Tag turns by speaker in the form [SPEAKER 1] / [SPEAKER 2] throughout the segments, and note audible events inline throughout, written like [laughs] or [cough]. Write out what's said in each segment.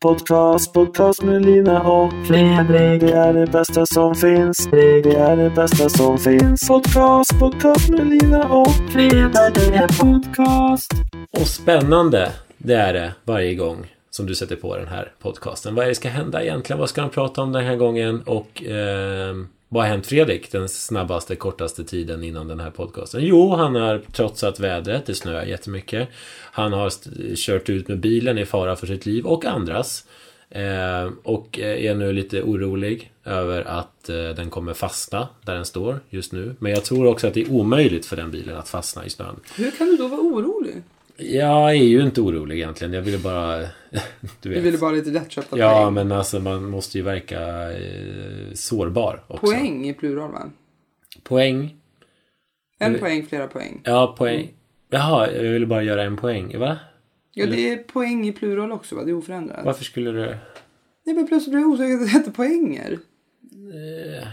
[SPEAKER 1] Podcast, podcast med Lina och Fredrik. Det är det bästa som finns. Det är det bästa som finns. Podcast, podcast med Lina och Fredrik. Det är podcast.
[SPEAKER 2] Och spännande det är det varje gång som du sätter på den här podcasten. Vad är det ska hända egentligen? Vad ska de prata om den här gången? Och ehm, vad har hänt Fredrik den snabbaste, kortaste tiden innan den här podcasten? Jo, han har trotsat vädret. Det snöar jättemycket. Han har st- kört ut med bilen i fara för sitt liv och andras. Ehm, och är nu lite orolig över att eh, den kommer fastna där den står just nu. Men jag tror också att det är omöjligt för den bilen att fastna i snön.
[SPEAKER 3] Hur kan du då vara orolig?
[SPEAKER 2] Jag är ju inte orolig egentligen. Jag ville bara... [laughs] Du vet.
[SPEAKER 3] Du ville bara lite lättköpta
[SPEAKER 2] Ja,
[SPEAKER 3] poäng.
[SPEAKER 2] men alltså man måste ju verka eh, sårbar också.
[SPEAKER 3] Poäng i plural va?
[SPEAKER 2] Poäng.
[SPEAKER 3] En poäng, flera poäng.
[SPEAKER 2] Ja, poäng. Jaha, jag ville bara göra en poäng. Va?
[SPEAKER 3] Ja, det är poäng i plural också va? Det är oförändrat.
[SPEAKER 2] Varför skulle du...
[SPEAKER 3] Nej, men plötsligt blev jag osäker att det hette poänger. Ja, det
[SPEAKER 2] Eh,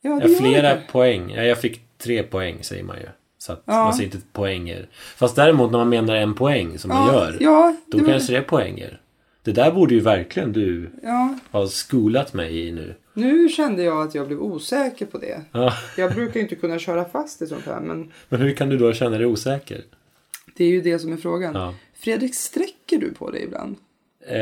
[SPEAKER 2] Ja,
[SPEAKER 3] gör
[SPEAKER 2] flera
[SPEAKER 3] det.
[SPEAKER 2] poäng. Ja, jag fick tre poäng säger man ju. Så att
[SPEAKER 3] Ja.
[SPEAKER 2] man säger inte poänger. Fast däremot när man menar en poäng som man
[SPEAKER 3] Ja,
[SPEAKER 2] gör.
[SPEAKER 3] ja,
[SPEAKER 2] då
[SPEAKER 3] det var-
[SPEAKER 2] kanske det är poänger. Det där borde ju verkligen du
[SPEAKER 3] Ja,
[SPEAKER 2] ha skolat mig i nu.
[SPEAKER 3] nu kände jag att jag blev osäker på det.
[SPEAKER 2] Ja. [laughs]
[SPEAKER 3] Jag brukar ju inte kunna köra fast i sånt här, men
[SPEAKER 2] Men hur kan du då känna dig osäker?
[SPEAKER 3] det är ju det som är frågan.
[SPEAKER 2] Ja.
[SPEAKER 3] Fredrik, sträcker du på dig ibland?
[SPEAKER 2] Eh,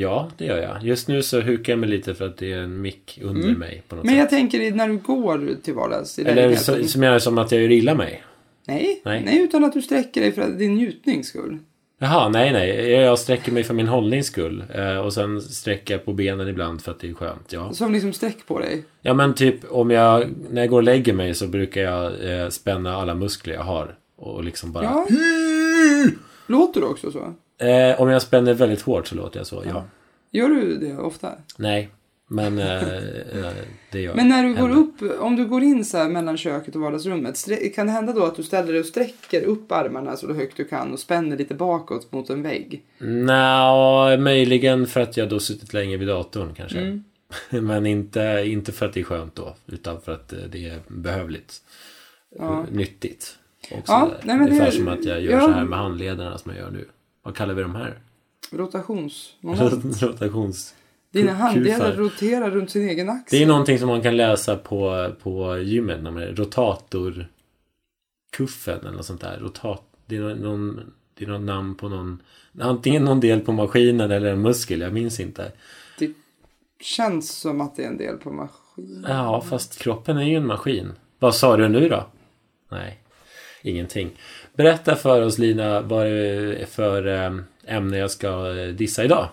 [SPEAKER 2] ja, det gör jag. Just nu så hukar jag mig lite för att det är en mick under mig på något
[SPEAKER 3] Men
[SPEAKER 2] sätt.
[SPEAKER 3] jag tänker i- när du går till vardags i
[SPEAKER 2] Eller
[SPEAKER 3] lägenheten.
[SPEAKER 2] så, som jag som att jag gör illa mig.
[SPEAKER 3] Nej,
[SPEAKER 2] Nej.
[SPEAKER 3] nej, utan att du sträcker dig för att din njutnings skull.
[SPEAKER 2] Jaha, nej, nej. Jag jag sträcker mig för min hållnings skull. Eh, och sen sträcker jag på benen ibland för att det är skönt. Ja,
[SPEAKER 3] Som liksom sträck på dig.
[SPEAKER 2] ja men typ om jag, när jag går och lägger mig så brukar jag eh, spänna alla muskler jag har. Och liksom bara...
[SPEAKER 3] Ja. Låter du också så?
[SPEAKER 2] Eh, om jag spänner väldigt hårt så låter jag så, ja.
[SPEAKER 3] Gör du det ofta?
[SPEAKER 2] Nej, men eh, eh, det gör
[SPEAKER 3] Men när du går
[SPEAKER 2] händer.
[SPEAKER 3] upp, om du går in så här mellan köket och vardagsrummet, strä- kan det hända då att du ställer dig och sträcker upp armarna så högt du kan och spänner lite bakåt mot en vägg?
[SPEAKER 2] Nja, möjligen för att jag då suttit länge vid datorn kanske.
[SPEAKER 3] Mm.
[SPEAKER 2] [laughs] Men inte, inte för att det är skönt då, utan för att eh, det är behövligt. Eh, Nyttigt. Och
[SPEAKER 3] Ja,
[SPEAKER 2] sådär.
[SPEAKER 3] nej, men
[SPEAKER 2] Ungefär
[SPEAKER 3] det-
[SPEAKER 2] som att jag gör
[SPEAKER 3] ja.
[SPEAKER 2] så här med handlederna som jag gör nu. Vad kallar vi de här? [laughs]
[SPEAKER 3] Rotationsmoment.
[SPEAKER 2] Rotations...
[SPEAKER 3] Dina
[SPEAKER 2] Ku-
[SPEAKER 3] handleder
[SPEAKER 2] kufar.
[SPEAKER 3] roterar runt sin egen
[SPEAKER 2] Det är
[SPEAKER 3] axel.
[SPEAKER 2] någonting som man kan läsa på, på gymmet. när man är- Rotatorkuffen eller något sånt där. Rotat, det, är nå- någon, det är något namn på någon... Antingen någon del på maskinen eller en muskel, jag minns inte.
[SPEAKER 3] Det känns som att det är en del på maskin.
[SPEAKER 2] Ja, fast kroppen är ju en maskin. Vad sa du nu då? Nej, ingenting. Berätta för oss Lina vad det är för eh, ämne jag ska eh, dissa idag.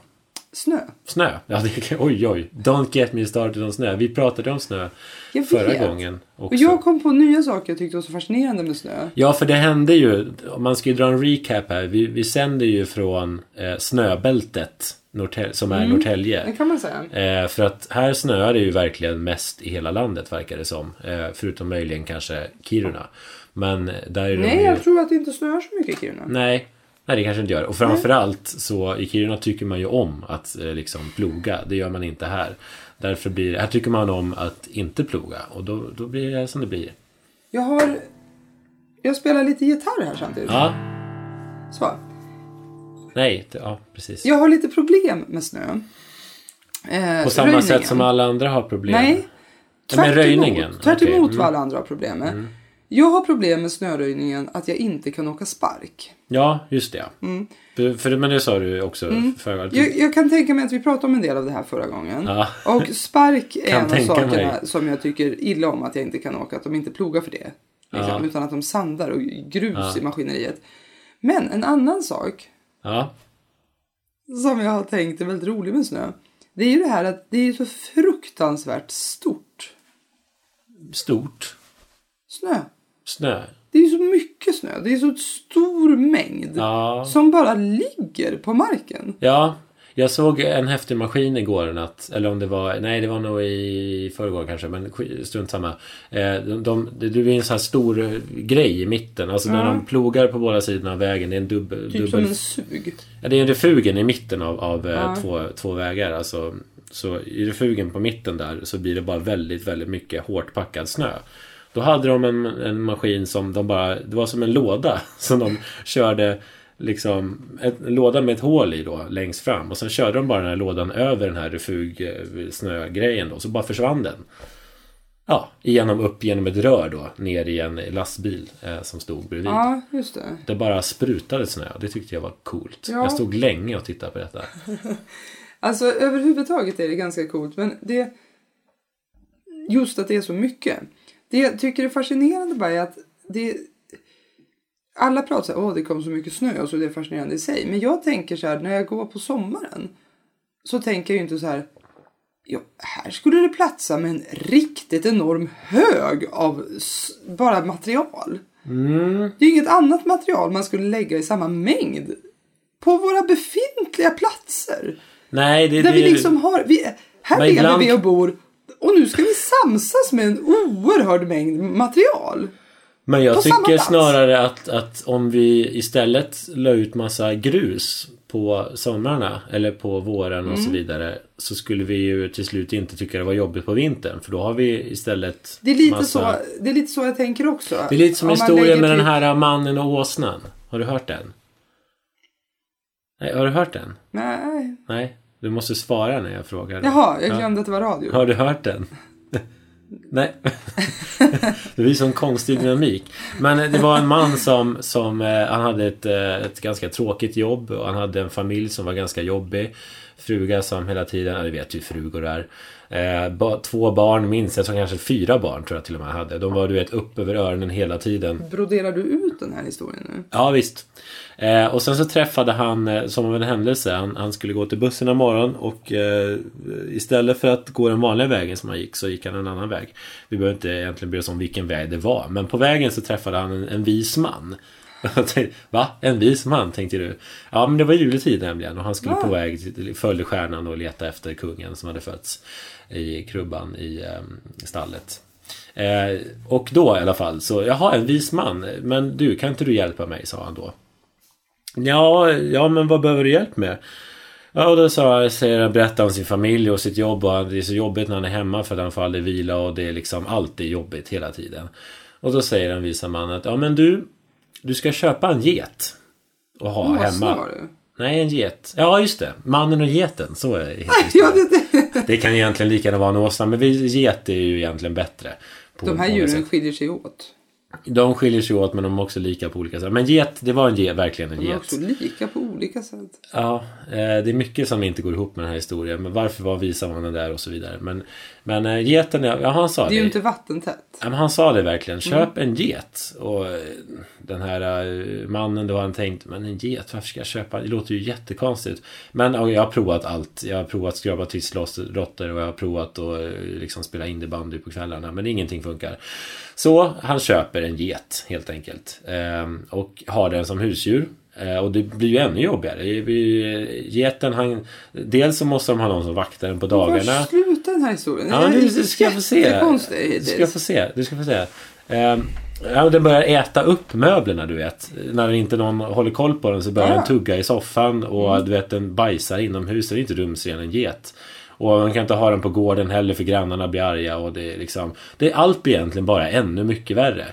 [SPEAKER 3] Snö.
[SPEAKER 2] Snö. Ja, det, oj, oj. Don't get me started om snö. Vi pratade om snö
[SPEAKER 3] Jag
[SPEAKER 2] förra
[SPEAKER 3] vet.
[SPEAKER 2] gången också.
[SPEAKER 3] Och jag kom på nya saker jag tyckte var så fascinerande med snö.
[SPEAKER 2] Ja, för det hände ju. Man ska ju dra en recap här. Vi, vi sänder ju från eh, snöbältet Norrtälje, som är
[SPEAKER 3] Mm.
[SPEAKER 2] Norrtälje.
[SPEAKER 3] Det kan man säga.
[SPEAKER 2] Eh, för att här snöar det ju verkligen mest i hela landet verkar det som. Eh, förutom möjligen kanske Kiruna. Men där är det
[SPEAKER 3] Nej,
[SPEAKER 2] ju...
[SPEAKER 3] jag tror att det inte snöar så mycket i Kiruna.
[SPEAKER 2] Nej, nej, det kanske inte gör. Och framförallt så i Kiruna tycker man ju om att eh, liksom ploga. Det gör man inte här. Därför blir Här tycker man om att inte ploga. Och då, då blir det som det blir.
[SPEAKER 3] Jag har... Jag spelar lite gitarr här samtidigt.
[SPEAKER 2] Ja,
[SPEAKER 3] Så.
[SPEAKER 2] nej, det, ja precis.
[SPEAKER 3] Jag har lite problem med snö. Eh,
[SPEAKER 2] På samma
[SPEAKER 3] röjningen.
[SPEAKER 2] sätt som alla andra har problem.
[SPEAKER 3] Nej.
[SPEAKER 2] Ja, men
[SPEAKER 3] Tvärt
[SPEAKER 2] röjningen.
[SPEAKER 3] emot- Tvärt
[SPEAKER 2] Okej,
[SPEAKER 3] emot
[SPEAKER 2] mm.
[SPEAKER 3] vad alla andra har problem med. Jag har problem med snöröjningen att jag inte kan åka spark.
[SPEAKER 2] Ja, just det.
[SPEAKER 3] Mm.
[SPEAKER 2] För, för, men det sa du också förra gången.
[SPEAKER 3] Jag, jag kan tänka mig att vi pratade om en del av det här förra gången.
[SPEAKER 2] Ja.
[SPEAKER 3] Och spark är
[SPEAKER 2] [laughs] Kan
[SPEAKER 3] en av
[SPEAKER 2] tänka
[SPEAKER 3] sakerna
[SPEAKER 2] mig.
[SPEAKER 3] som jag tycker illa om att jag inte kan åka. Att de inte plogar för det. Liksom, Utan att de sandar och grus i maskineriet. Men en annan sak
[SPEAKER 2] Ja,
[SPEAKER 3] som jag har tänkt är väldigt rolig med snö. Det är ju det här att det är ju så fruktansvärt stort
[SPEAKER 2] stort.
[SPEAKER 3] snö.
[SPEAKER 2] Snö.
[SPEAKER 3] Det är ju så mycket snö. Det är så stor mängd.
[SPEAKER 2] Ja.
[SPEAKER 3] Som bara ligger på marken.
[SPEAKER 2] Ja, jag såg en häftig maskin igår en natt. Eller om det var, nej det var nog i förrgår kanske, men sk- strunt samma. Eh, De, de, det blir en sån här stor eh, grej i mitten. Alltså när de plogar på båda sidorna av vägen. Det är en dubbel...
[SPEAKER 3] Typ som
[SPEAKER 2] dubbel
[SPEAKER 3] en sug.
[SPEAKER 2] ja, det är en refugen i mitten av, av eh, två, två vägar. Alltså, så i refugen på mitten där så blir det bara väldigt, väldigt mycket hårt packad snö. [laughs] Då hade de en, en maskin som de bara, det var som en låda som de körde liksom ett, en låda med ett hål i då längst fram och sen körde de bara den här lådan över den här refug eh, snögrejen då så bara försvann den. Ja, igenom upp genom ett rör då ner i en lastbil eh, som stod bredvid.
[SPEAKER 3] Ja, just det.
[SPEAKER 2] Det bara sprutade snö. Det tyckte jag var coolt.
[SPEAKER 3] Ja.
[SPEAKER 2] Jag stod länge och tittade på detta.
[SPEAKER 3] Alltså överhuvudtaget är det ganska coolt. Men det... Just att det är så mycket. Det jag tycker är fascinerande bara är att det... Alla pratar så här, åh det kom så mycket snö och så det är fascinerande i sig. Men jag tänker så här, när jag går på sommaren. Så tänker jag ju inte så här, ja, här skulle det platsa med en riktigt enorm hög av s- bara material. Det är ju inget annat material man skulle lägga i samma mängd. På våra befintliga platser.
[SPEAKER 2] Nej, det,
[SPEAKER 3] Där
[SPEAKER 2] det,
[SPEAKER 3] vi liksom har, vi, här
[SPEAKER 2] Men
[SPEAKER 3] lever
[SPEAKER 2] ibland-
[SPEAKER 3] vi och bor och nu ska vi samsas med en oerhörd mängd material.
[SPEAKER 2] Men jag
[SPEAKER 3] på samma
[SPEAKER 2] tycker
[SPEAKER 3] plats.
[SPEAKER 2] snarare att, att om vi istället la ut massa grus på somrarna eller på våren och
[SPEAKER 3] Mm.
[SPEAKER 2] så vidare så skulle vi ju till slut inte tycka det var jobbigt på vintern för då har vi istället
[SPEAKER 3] Det är lite,
[SPEAKER 2] massa...
[SPEAKER 3] så, det är lite så jag tänker också.
[SPEAKER 2] Det är lite som
[SPEAKER 3] Om man
[SPEAKER 2] historien
[SPEAKER 3] lägger
[SPEAKER 2] med den
[SPEAKER 3] till-
[SPEAKER 2] här mannen och åsnan. Har du hört den? Nej, har du hört den?
[SPEAKER 3] Nej.
[SPEAKER 2] Nej, du måste svara när jag frågar. dig.
[SPEAKER 3] Jaha, jag glömde att det var radio.
[SPEAKER 2] Har du hört den? [laughs] Nej. [laughs] Det blir sån konstig dynamik. Men eh, det var en man som, som eh, han hade ett, eh, ett ganska tråkigt jobb och han hade en familj som var ganska jobbig. Fruga som hela tiden, ja du vet ju hur frugor är. Eh, ba, två barn minst, jag tror kanske fyra barn tror jag till och med han hade. De var du vet upp över öronen hela tiden.
[SPEAKER 3] Broderar du ut den här historien nu?
[SPEAKER 2] Ja visst. Eh, och sen så träffade han, eh, som av en händelse, han, han skulle gå till bussen en morgon och eh, istället för att gå den vanliga vägen som han gick så gick han en annan väg. Vi behöver inte egentligen bry oss om vilken väg det var, men på vägen så träffade han en, en vis man. [laughs] Jag tänkte, Va? En vis man, tänkte du? Ja, men det var juletid nämligen och han skulle på väg till, följde stjärnan och letade efter kungen som hade fötts i krubban i eh, stallet. Eh, och då i alla fall så, jaha en vis man, men du kan inte du hjälpa mig? sa han då. Ja, ja men vad behöver du hjälp med? Ja, och då sa, säger han, berättar om sin familj och sitt jobb och han- det är så jobbigt när han är hemma för att han får aldrig vila och det är liksom alltid jobbigt hela tiden. Och då säger den visa mannen att, ja men du, du ska köpa en get och ha
[SPEAKER 3] Åh, vad
[SPEAKER 2] hemma.
[SPEAKER 3] snar du.
[SPEAKER 2] Nej, en get. Ja, just det. Mannen och geten, så är det.
[SPEAKER 3] [laughs] Ja, det, det.
[SPEAKER 2] Det kan egentligen lika gärna vara en åsna, men vi- get är ju egentligen bättre. på
[SPEAKER 3] De här
[SPEAKER 2] många
[SPEAKER 3] djuren
[SPEAKER 2] sätt.
[SPEAKER 3] skiljer sig åt.
[SPEAKER 2] De skiljer sig åt men de är också lika på olika sätt. Men get, det var en get, verkligen en
[SPEAKER 3] De är
[SPEAKER 2] get.
[SPEAKER 3] också lika på olika sätt.
[SPEAKER 2] Ja, eh, det är mycket som inte går ihop med den här historien. Men varför var visa mannen där och så vidare. Men, men eh, geten, är- ja han sa
[SPEAKER 3] Det är
[SPEAKER 2] det.
[SPEAKER 3] ju inte vattentätt.
[SPEAKER 2] Ja, men han sa det verkligen. Köp en get. Och eh, den här eh, mannen då han tänkt, men en get, varför ska jag köpa? Det låter ju jättekonstigt. Men ja, jag har provat allt. Jag har provat skrapa tisslotter och jag har provat att eh, liksom spela innebandy på kvällarna. Men ingenting funkar. Så han köper en get helt enkelt. Ehm, Och har den som husdjur. Eh, Och det blir ju ännu jobbigare. Det blir- eh, Geten, han, dels så måste de ha någon som vaktar den på dagarna.
[SPEAKER 3] Först sluta den här historien.
[SPEAKER 2] Ja, du, du ska få se. Du
[SPEAKER 3] Jättekonstigt.
[SPEAKER 2] ska få se. Du ska få se. Ehm, ja, men den börjar äta upp möblerna, du vet. När inte någon håller koll på den så börjar
[SPEAKER 3] Ja. Mm.
[SPEAKER 2] den tugga i soffan och du vet, den bajsar inomhus. Den är inte rumsren, en get. Och man kan inte ha den på gården heller för grannarna blir arga och det är liksom... Det är allt blir egentligen bara ännu mycket värre.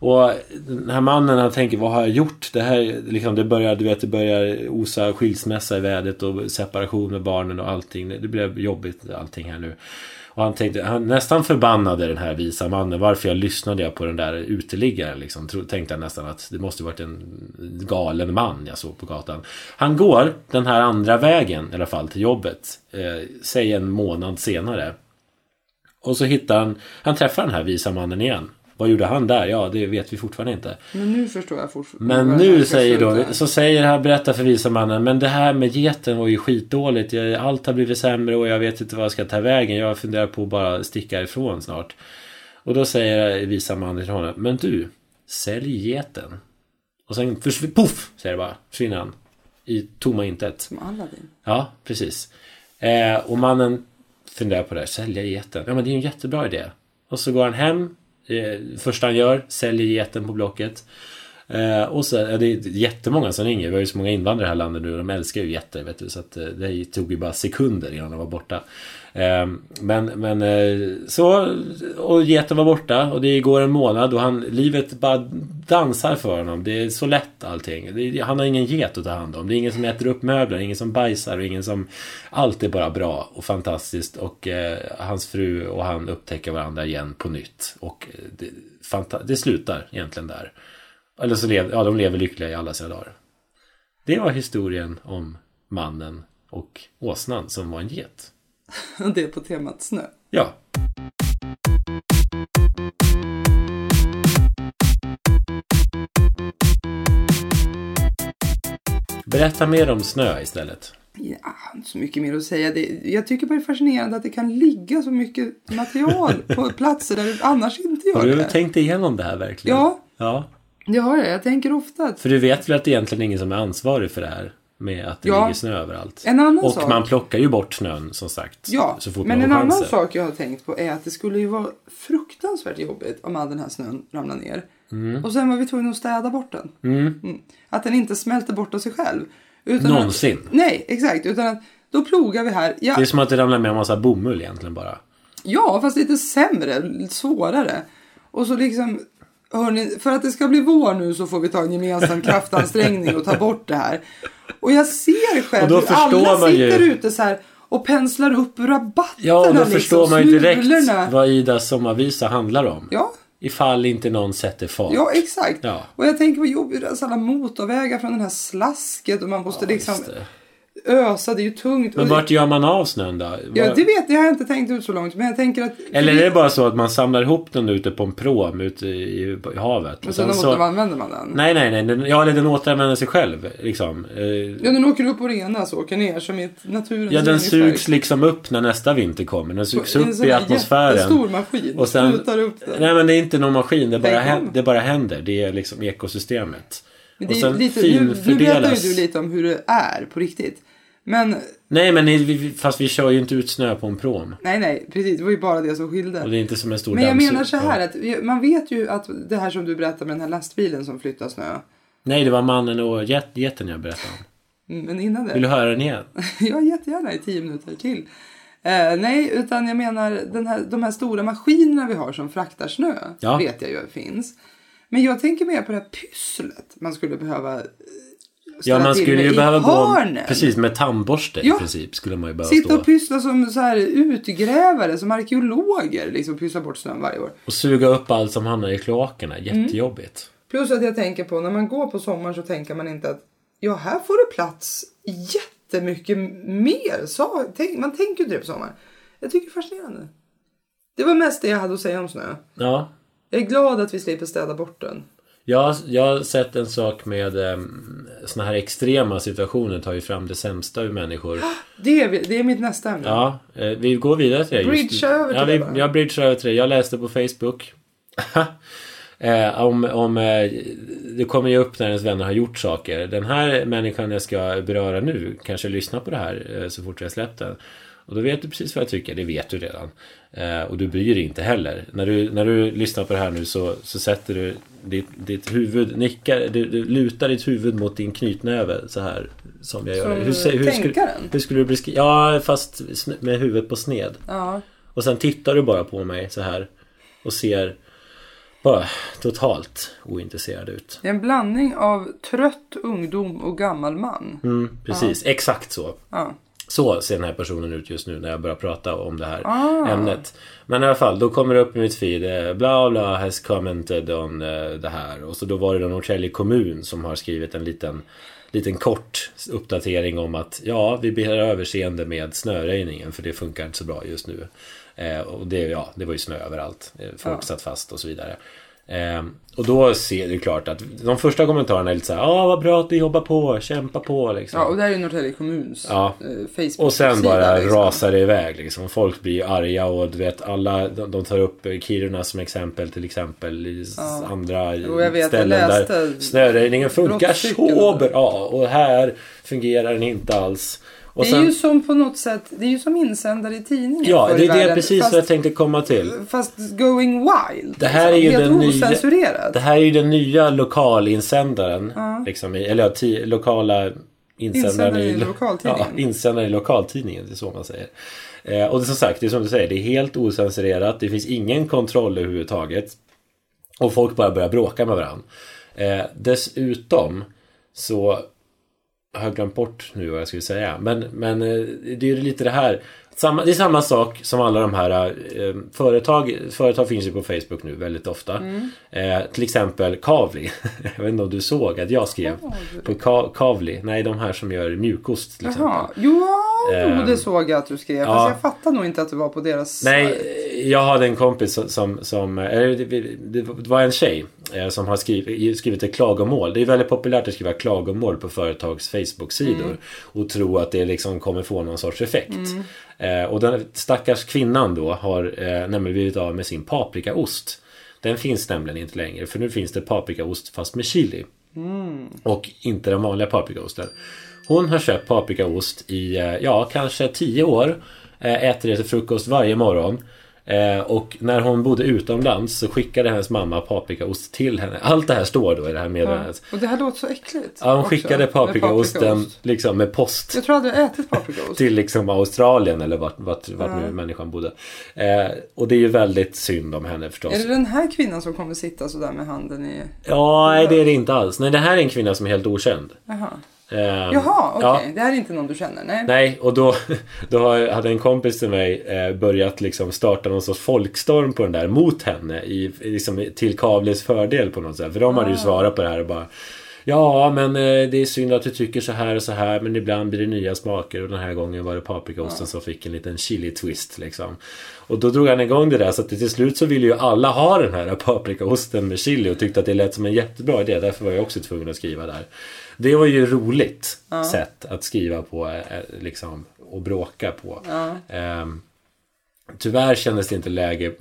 [SPEAKER 2] Och den här mannen han tänker vad har jag gjort? Det här liksom, det börjar, du vet, det börjar osa skilsmässa i vädret och separation med barnen och allting. Det blev jobbigt allting här nu. Och han tänkte, han nästan förbannade den här visa mannen. Varför jag lyssnade jag på den där uteliggaren liksom. Tro- Tänkte han nästan att det måste varit en galen man jag såg på gatan. Han går den här andra vägen i alla fall till jobbet. Eh, säg en månad senare. Och så hittar han, han träffar den här visa mannen igen. Vad gjorde han där? Ja, det vet vi fortfarande inte.
[SPEAKER 3] Men nu förstår jag fortfarande.
[SPEAKER 2] Men
[SPEAKER 3] vad den
[SPEAKER 2] nu
[SPEAKER 3] här ska
[SPEAKER 2] säger då,
[SPEAKER 3] sluta.
[SPEAKER 2] så säger han, berättar för visa mannen, men det här med geten var ju skitdåligt. Jag- Allt har blivit sämre och jag vet inte vad jag ska ta vägen. Jag funderar på att bara sticka ifrån snart. Och då säger visa mannen till honom, men du, sälj geten. Och sen försvinner, poff, säger det bara, försvinner han. I tomma intet.
[SPEAKER 3] Som Aladdin.
[SPEAKER 2] Ja, precis. Eh, och mannen funderar på det här, sälja geten. Ja, men det är ju en jättebra idé. Och så går han hem. Eh, första han gör, säljer geten på Blocket. Eh, och så, ja, det är jättemånga som ringer. Vi har ju så många invandrare i det här landet nu. De älskar ju jätter, vet du. Så att, eh, det tog ju bara sekunder innan de var borta. Eh, men, men eh, så, och getten var borta. Och det går en månad och han, livet bara dansar för honom. Det är så lätt allting. Det, han har ingen get att ta hand om. Det är ingen som äter upp möbler, ingen som bajsar och ingen som... Allt är bara bra och fantastiskt. Och eh, hans fru och han upptäcker varandra igen på nytt. Och eh, det, fanta- det slutar egentligen där. Eller så lever, ja, de lever lyckliga i alla sina dagar. Det var historien om mannen och åsnan som var en get.
[SPEAKER 3] Och [laughs] det är på temat snö.
[SPEAKER 2] Ja. Berätta mer om snö istället.
[SPEAKER 3] Ja, inte så mycket mer att säga. Det, jag tycker bara det är fascinerande att det kan ligga så mycket material [laughs] på platser där det annars inte gör
[SPEAKER 2] Har du
[SPEAKER 3] det.
[SPEAKER 2] tänkt igenom det här verkligen?
[SPEAKER 3] Ja.
[SPEAKER 2] ja.
[SPEAKER 3] Det har jag. Jag tänker ofta att
[SPEAKER 2] För du vet väl att det egentligen är ingen som är ansvarig för det här? Med att det
[SPEAKER 3] Ja.
[SPEAKER 2] ligger snö överallt.
[SPEAKER 3] En annan
[SPEAKER 2] och
[SPEAKER 3] sak-
[SPEAKER 2] man plockar ju bort snön som sagt.
[SPEAKER 3] Ja,
[SPEAKER 2] så fort
[SPEAKER 3] men
[SPEAKER 2] man
[SPEAKER 3] en
[SPEAKER 2] har
[SPEAKER 3] annan
[SPEAKER 2] chansen.
[SPEAKER 3] sak jag har tänkt på är att det skulle ju vara fruktansvärt jobbigt om all den här snön ramlar ner.
[SPEAKER 2] Mm.
[SPEAKER 3] Och sen var vi tvungna att städa bort den. Mm. Att den inte smälter bort av sig själv. Utan
[SPEAKER 2] Någonsin.
[SPEAKER 3] Att, nej, exakt. Utan att då plogar vi här. Ja,
[SPEAKER 2] Det är som att det ramlar med en massa bomull egentligen bara.
[SPEAKER 3] ja fast lite sämre, lite svårare. Och så liksom, hörni, för att det ska bli vår nu så får vi ta en
[SPEAKER 2] [laughs]
[SPEAKER 3] gemensam kraftansträngning och ta bort det här. Och jag ser själv
[SPEAKER 2] Och då
[SPEAKER 3] hur alla
[SPEAKER 2] förstår man ju-
[SPEAKER 3] sitter ute så här och penslar upp rabatterna.
[SPEAKER 2] Ja, och då
[SPEAKER 3] liksom,
[SPEAKER 2] förstår man ju direkt
[SPEAKER 3] smulorna.
[SPEAKER 2] vad Idas sommarvisa handlar om.
[SPEAKER 3] Ja,
[SPEAKER 2] Ifall inte någon sätter fart.
[SPEAKER 3] ja exakt.
[SPEAKER 2] Ja.
[SPEAKER 3] Och jag tänker vad jobbigt det är, alltså alla motorvägar från den här slasket och man måste liksom
[SPEAKER 2] Just det.
[SPEAKER 3] ösa, det är ju tungt.
[SPEAKER 2] Men
[SPEAKER 3] och
[SPEAKER 2] vart gör man av snön då?
[SPEAKER 3] ja,
[SPEAKER 2] Var-
[SPEAKER 3] det vet jag, har jag inte tänkt ut så långt. Men jag tänker att...
[SPEAKER 2] Eller är det bara så att man samlar ihop den ute på en pråm ute i, i havet?
[SPEAKER 3] Och sen
[SPEAKER 2] så...
[SPEAKER 3] återanvänder man den.
[SPEAKER 2] Nej, nej, nej. Den, ja, eller den återanvänder sig själv. Liksom. Eh,
[SPEAKER 3] Ja, den åker upp och renas och åker ner som i ett naturens
[SPEAKER 2] Ja, den
[SPEAKER 3] reningsverk.
[SPEAKER 2] sugs liksom upp när nästa vinter kommer. Den sugs
[SPEAKER 3] En
[SPEAKER 2] upp
[SPEAKER 3] sån
[SPEAKER 2] i
[SPEAKER 3] här
[SPEAKER 2] atmosfären.
[SPEAKER 3] jättestor maskin.
[SPEAKER 2] Och sen,
[SPEAKER 3] Sprutar upp den.
[SPEAKER 2] nej men det är inte någon maskin, det bara,
[SPEAKER 3] Tänk om.
[SPEAKER 2] händer, det bara händer. Det är liksom ekosystemet.
[SPEAKER 3] Men
[SPEAKER 2] och
[SPEAKER 3] det är
[SPEAKER 2] sen
[SPEAKER 3] lite, nu, nu berättar ju
[SPEAKER 2] finfördelas.
[SPEAKER 3] du lite om hur det är på riktigt. Men
[SPEAKER 2] Nej men ni- vi- fast vi kör ju inte ut snö på en pråm.
[SPEAKER 3] nej, nej, precis. Det var ju bara det som skilde.
[SPEAKER 2] Och det är inte som en stor
[SPEAKER 3] Men jag
[SPEAKER 2] dammsug.
[SPEAKER 3] menar så här
[SPEAKER 2] Ja.
[SPEAKER 3] att vi- man vet ju att det här som du berättar med den här lastbilen som flyttar snö.
[SPEAKER 2] Nej det var mannen och get, geten jag berättade om.
[SPEAKER 3] Mm, Men innan det.
[SPEAKER 2] Vill du höra den igen?
[SPEAKER 3] [laughs] Ja, jättegärna i tio minuter till. Eh, nej, utan jag menar den här, de här stora maskinerna vi har som fraktar snö.
[SPEAKER 2] Ja.
[SPEAKER 3] Vet jag ju finns. Men jag tänker mer på det här pysslet man skulle behöva eh,
[SPEAKER 2] Ja
[SPEAKER 3] ställa
[SPEAKER 2] man
[SPEAKER 3] till
[SPEAKER 2] skulle
[SPEAKER 3] med
[SPEAKER 2] ju
[SPEAKER 3] i
[SPEAKER 2] behöva gå
[SPEAKER 3] hörnen.
[SPEAKER 2] precis med tandborste
[SPEAKER 3] Ja.
[SPEAKER 2] i princip. Skulle man ju behöva
[SPEAKER 3] Sitta
[SPEAKER 2] stå
[SPEAKER 3] och pyssla som så här utgrävare, som arkeologer. Liksom pyssla bort snön varje år.
[SPEAKER 2] och suga upp allt som hamnar i kloakerna.
[SPEAKER 3] Mm.
[SPEAKER 2] Jättejobbigt.
[SPEAKER 3] Plus att jag tänker på när man går på sommaren så tänker man inte att ja, här får det plats jättemycket mer. Så, tänk, man tänker ju inte det på sommaren. Jag tycker det är fascinerande. Det var mest det jag hade att säga om snö.
[SPEAKER 2] Ja.
[SPEAKER 3] Jag är glad att vi slipper städa bort den.
[SPEAKER 2] Jag, jag har sett en sak med eh, såna här extrema situationer tar ju fram det sämsta ur
[SPEAKER 3] [gasps]
[SPEAKER 2] människor.
[SPEAKER 3] Det är, vi- det är mitt nästa ämne.
[SPEAKER 2] Ja, eh, vi går vidare till det. just-
[SPEAKER 3] Bridge över till
[SPEAKER 2] ja,
[SPEAKER 3] det
[SPEAKER 2] vi,
[SPEAKER 3] bara.
[SPEAKER 2] Jag bridgear över till det. Jag läste på Facebook. [laughs] eh, om, om, eh, det kommer ju upp när ens vänner har gjort saker. Den här människan jag ska beröra nu kanske lyssnar på det här eh, så fort jag släppt den. Och då vet du precis vad jag tycker, det vet du redan. Eh, och du bryr dig inte heller. När du, när du lyssnar på det här nu så, så sätter du ditt, ditt huvud, nickar, du, du lutar ditt huvud mot din knytnäve så här. Som jag
[SPEAKER 3] Som
[SPEAKER 2] gör. sä- skulle-
[SPEAKER 3] tänkaren?
[SPEAKER 2] hur skulle du beskriva? Ja, fast sn- med huvudet på sned.
[SPEAKER 3] Ja.
[SPEAKER 2] Och sen tittar du bara på mig så här och ser bara totalt ointresserad ut.
[SPEAKER 3] Det är en blandning av trött ungdom och gammal man.
[SPEAKER 2] Mm, precis, exakt så.
[SPEAKER 3] Ja.
[SPEAKER 2] Så ser den här personen ut just nu när jag börjar prata om det här
[SPEAKER 3] Ah.
[SPEAKER 2] ämnet. Men i alla fall, då kommer det upp i mitt feed. eh, Bla bla has commented on eh, det här. Och så då var det då Norrtälje kommun som har skrivit en liten, liten kort uppdatering om att ja, vi ber överseende med snöröjningen för det funkar inte så bra just nu. Eh, och det, ja, det var ju snö överallt. Eh, Folk satt fast och så vidare. Ehm, och då ser det klart att de första kommentarerna är lite så här, ja ah, vad bra att ni jobbar på, kämpa på liksom.
[SPEAKER 3] ja, och det här är ju Norrtälje kommuns
[SPEAKER 2] Ja.
[SPEAKER 3] eh, Facebook-sida.
[SPEAKER 2] Och sen bara
[SPEAKER 3] liksom.
[SPEAKER 2] rasar det iväg liksom. Folk blir ju arga och du vet alla, de, de tar upp Kiruna som exempel till exempel i s- andra
[SPEAKER 3] Jo, jag vet, jag
[SPEAKER 2] ställen där
[SPEAKER 3] läste
[SPEAKER 2] snöröjningen funkar
[SPEAKER 3] brottscykeln.
[SPEAKER 2] så bra och här fungerar den inte alls. Och
[SPEAKER 3] det är ju
[SPEAKER 2] sen,
[SPEAKER 3] som på något sätt, det är ju som insändare i tidningen
[SPEAKER 2] ja,
[SPEAKER 3] förr i
[SPEAKER 2] det är det
[SPEAKER 3] världen,
[SPEAKER 2] precis
[SPEAKER 3] fast,
[SPEAKER 2] vad jag tänkte komma till.
[SPEAKER 3] Fast going wild. Liksom,
[SPEAKER 2] Det här är ju
[SPEAKER 3] Helt
[SPEAKER 2] den nya-
[SPEAKER 3] ocensurerat.
[SPEAKER 2] Det här är ju den nya lokalinsändaren. Liksom, i- eller ja, ti, lokala insändaren
[SPEAKER 3] Insändare i
[SPEAKER 2] lo-
[SPEAKER 3] lokaltidningen.
[SPEAKER 2] Ja, insändare i lokaltidningen, det är så man säger. Eh, och det, är som sagt, det är som du säger, det är helt ocensurerat. Det finns ingen kontroll överhuvudtaget. Och folk bara börjar bråka med varandra. Eh, dessutom så jag har glömt bort nu vad jag skulle säga. Men, men eh, det är ju lite det här. Samma, det är samma sak som alla de här eh, företag. Företag finns ju på Facebook nu väldigt ofta. Eh, till exempel Kavli. [laughs] jag vet inte om du såg att jag skrev på Ka- Kavli. Nej, de här som gör mjukost till exempel.
[SPEAKER 3] Jaha, jo,
[SPEAKER 2] Ehm,
[SPEAKER 3] det såg jag att du skrev.
[SPEAKER 2] ja.
[SPEAKER 3] Fast jag fattar nog inte att det var på deras sajt.
[SPEAKER 2] Nej, jag hade en kompis som- som... som eh, det- det det var en tjej eh, som har skrivit, skrivit ett klagomål. Det är väldigt populärt att skriva klagomål på företags Facebook-sidor och tro att det liksom kommer få någon sorts effekt. Eh, Och den stackars kvinnan då har eh, nämligen blivit av med sin paprikaost. Den finns nämligen inte längre för nu finns det paprikaost fast med chili. Och inte den vanliga paprikaosten. Hon har köpt paprikaost i, eh, ja, kanske 10 år. eh, Äter det till frukost varje morgon. Eh, Och när hon bodde utomlands så skickade hennes mamma paprikaost till henne. Allt det här står då i det här meddelandet.
[SPEAKER 3] Och det här låter så äckligt.
[SPEAKER 2] Ja, hon
[SPEAKER 3] också,
[SPEAKER 2] skickade
[SPEAKER 3] med
[SPEAKER 2] paprikaosten
[SPEAKER 3] paprikaost.
[SPEAKER 2] liksom med post
[SPEAKER 3] Jag tror aldrig jag ätit paprikaost.
[SPEAKER 2] till liksom Australien eller vart, vart, vart nu människan bodde. Eh, och det är ju väldigt synd om henne förstås.
[SPEAKER 3] Är det den här kvinnan som kommer sitta sådär med handen i...
[SPEAKER 2] Ja, nej det är det inte alls. Nej, det här är en kvinna som är helt okänd.
[SPEAKER 3] Jaha,
[SPEAKER 2] Ehm,
[SPEAKER 3] Jaha okej.
[SPEAKER 2] ja.
[SPEAKER 3] Det här är inte någon du känner? Nej.
[SPEAKER 2] Nej, och då, [laughs] då har- hade en kompis till mig eh, börjat liksom starta någon sorts folkstorm på den där mot henne i, i liksom, till Kavlis fördel på något sätt. För de hade ju svarat på det här och bara Ja, men eh, det är synd att du tycker så här och så här men ibland blir det nya smaker och den här gången var det paprikaosten som fick en liten chili-twist liksom. Och då drog han igång det där så att till slut så ville ju alla ha den här paprikaosten med chili och tyckte att det lät som en jättebra idé. Därför var jag också tvungen att skriva där. Det var ju roligt sätt att skriva på eh, liksom, och bråka på. Ehm, tyvärr kändes det inte läge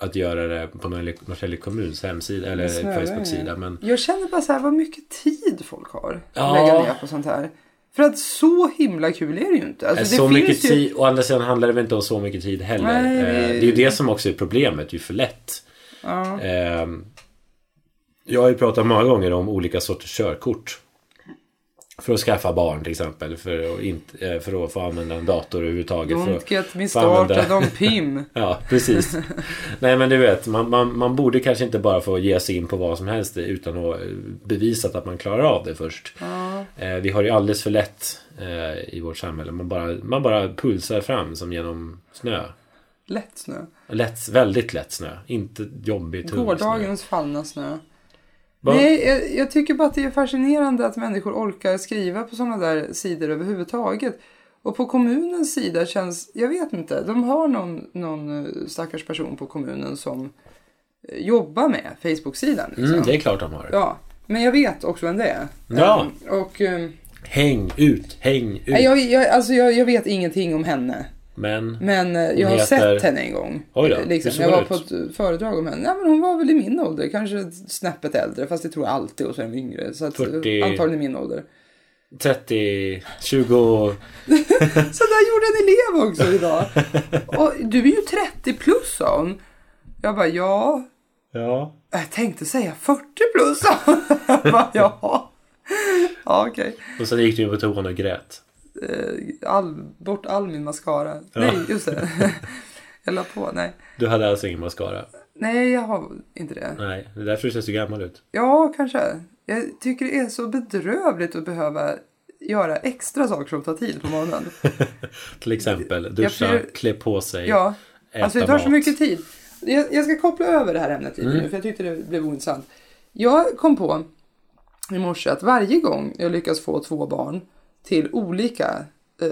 [SPEAKER 2] att göra det på Norrtälje- Norrtälje kommuns hemsida eller
[SPEAKER 3] snälla, ja.
[SPEAKER 2] Facebook-sida. Men eh,
[SPEAKER 3] Jag känner bara så här vad mycket tid folk har att
[SPEAKER 2] Ja.
[SPEAKER 3] lägga ner på sånt här. För att så himla kul är det ju inte. Alltså, det
[SPEAKER 2] så
[SPEAKER 3] finns
[SPEAKER 2] mycket
[SPEAKER 3] ju...
[SPEAKER 2] tid, å andra sidan handlar det väl inte om så mycket tid heller.
[SPEAKER 3] Nej,
[SPEAKER 2] Eh,
[SPEAKER 3] det-
[SPEAKER 2] det är ju det som också är problemet, det är ju för lätt. Ehm, jag har ju pratat många gånger om olika sorters körkort. För att skaffa barn till exempel, för att, inte, eh, för att få använda en dator överhuvudtaget. för
[SPEAKER 3] Don't
[SPEAKER 2] att
[SPEAKER 3] get me
[SPEAKER 2] få använda-
[SPEAKER 3] started on
[SPEAKER 2] [laughs]
[SPEAKER 3] PIM.
[SPEAKER 2] Ja,
[SPEAKER 3] [laughs]
[SPEAKER 2] precis. Nej, men du vet, man, man, man borde kanske inte bara få ge sig in på vad som helst utan att eh, bevisat att man klarar av det först. Eh, vi har ju alldeles för lätt eh, i vårt samhälle. Man bara, man bara pulsar fram som genom snö.
[SPEAKER 3] Lätt snö.
[SPEAKER 2] Lätt, väldigt lätt snö. Inte jobbig, tung snö.
[SPEAKER 3] Gårdagens fallna snö.
[SPEAKER 2] Va?
[SPEAKER 3] Nej, jag, jag tycker bara att det är fascinerande att människor orkar skriva på sådana där sidor överhuvudtaget. Och på kommunens sida känns, jag vet inte, de har någon, någon eh, stackars person på kommunen som eh, jobbar med Facebook-sidan. Liksom.
[SPEAKER 2] Mm, det är klart de har.
[SPEAKER 3] Ja, men jag vet också vem det är.
[SPEAKER 2] Ja.
[SPEAKER 3] Ehm, Och, ehm,
[SPEAKER 2] Häng ut, häng ut.
[SPEAKER 3] nej, jag, jag, alltså jag, jag vet ingenting om henne.
[SPEAKER 2] Men,
[SPEAKER 3] Men eh, jag har
[SPEAKER 2] heter-
[SPEAKER 3] sett henne en gång.
[SPEAKER 2] Oj då,
[SPEAKER 3] Eh,
[SPEAKER 2] hur
[SPEAKER 3] liksom.
[SPEAKER 2] såg
[SPEAKER 3] Jag
[SPEAKER 2] hon
[SPEAKER 3] var
[SPEAKER 2] ut?
[SPEAKER 3] på ett eh, föredrag om henne. Ja, men hon var väl i min ålder, kanske snäppet äldre. Fast det tror jag alltid och så är de yngre. Så att, eh,
[SPEAKER 2] 40.
[SPEAKER 3] antagligen min ålder.
[SPEAKER 2] 30, 20...
[SPEAKER 3] Så där gjorde en elev också
[SPEAKER 2] [laughs]
[SPEAKER 3] idag. Och du är ju 30 plus sa hon. Jag bara ja.
[SPEAKER 2] Ja.
[SPEAKER 3] Jag tänkte säga 40 plus sa hon. [laughs] Jag bara ja. Ja okej.
[SPEAKER 2] Och sen gick du in på toan och grät.
[SPEAKER 3] Eh, All, bort all min mascara. Nej just det. [laughs] Jag la på, nej.
[SPEAKER 2] Du hade alltså ingen mascara?
[SPEAKER 3] Nej jag har inte det.
[SPEAKER 2] Nej, det är därför du ser så gammal ut.
[SPEAKER 3] Ja, kanske. Jag tycker det är så bedrövligt att behöva göra extra saker som tar tid
[SPEAKER 2] [laughs]
[SPEAKER 3] på morgonen.
[SPEAKER 2] Till exempel duscha,
[SPEAKER 3] prior-
[SPEAKER 2] klä på sig,
[SPEAKER 3] Ja,
[SPEAKER 2] äta
[SPEAKER 3] alltså det tar så
[SPEAKER 2] mat. Mm.
[SPEAKER 3] mycket tid. Jag, jag ska koppla över det här ämnet lite nu, för jag tyckte det blev ointressant. Jag kom på i morse att varje gång jag lyckas få två barn till olika eh,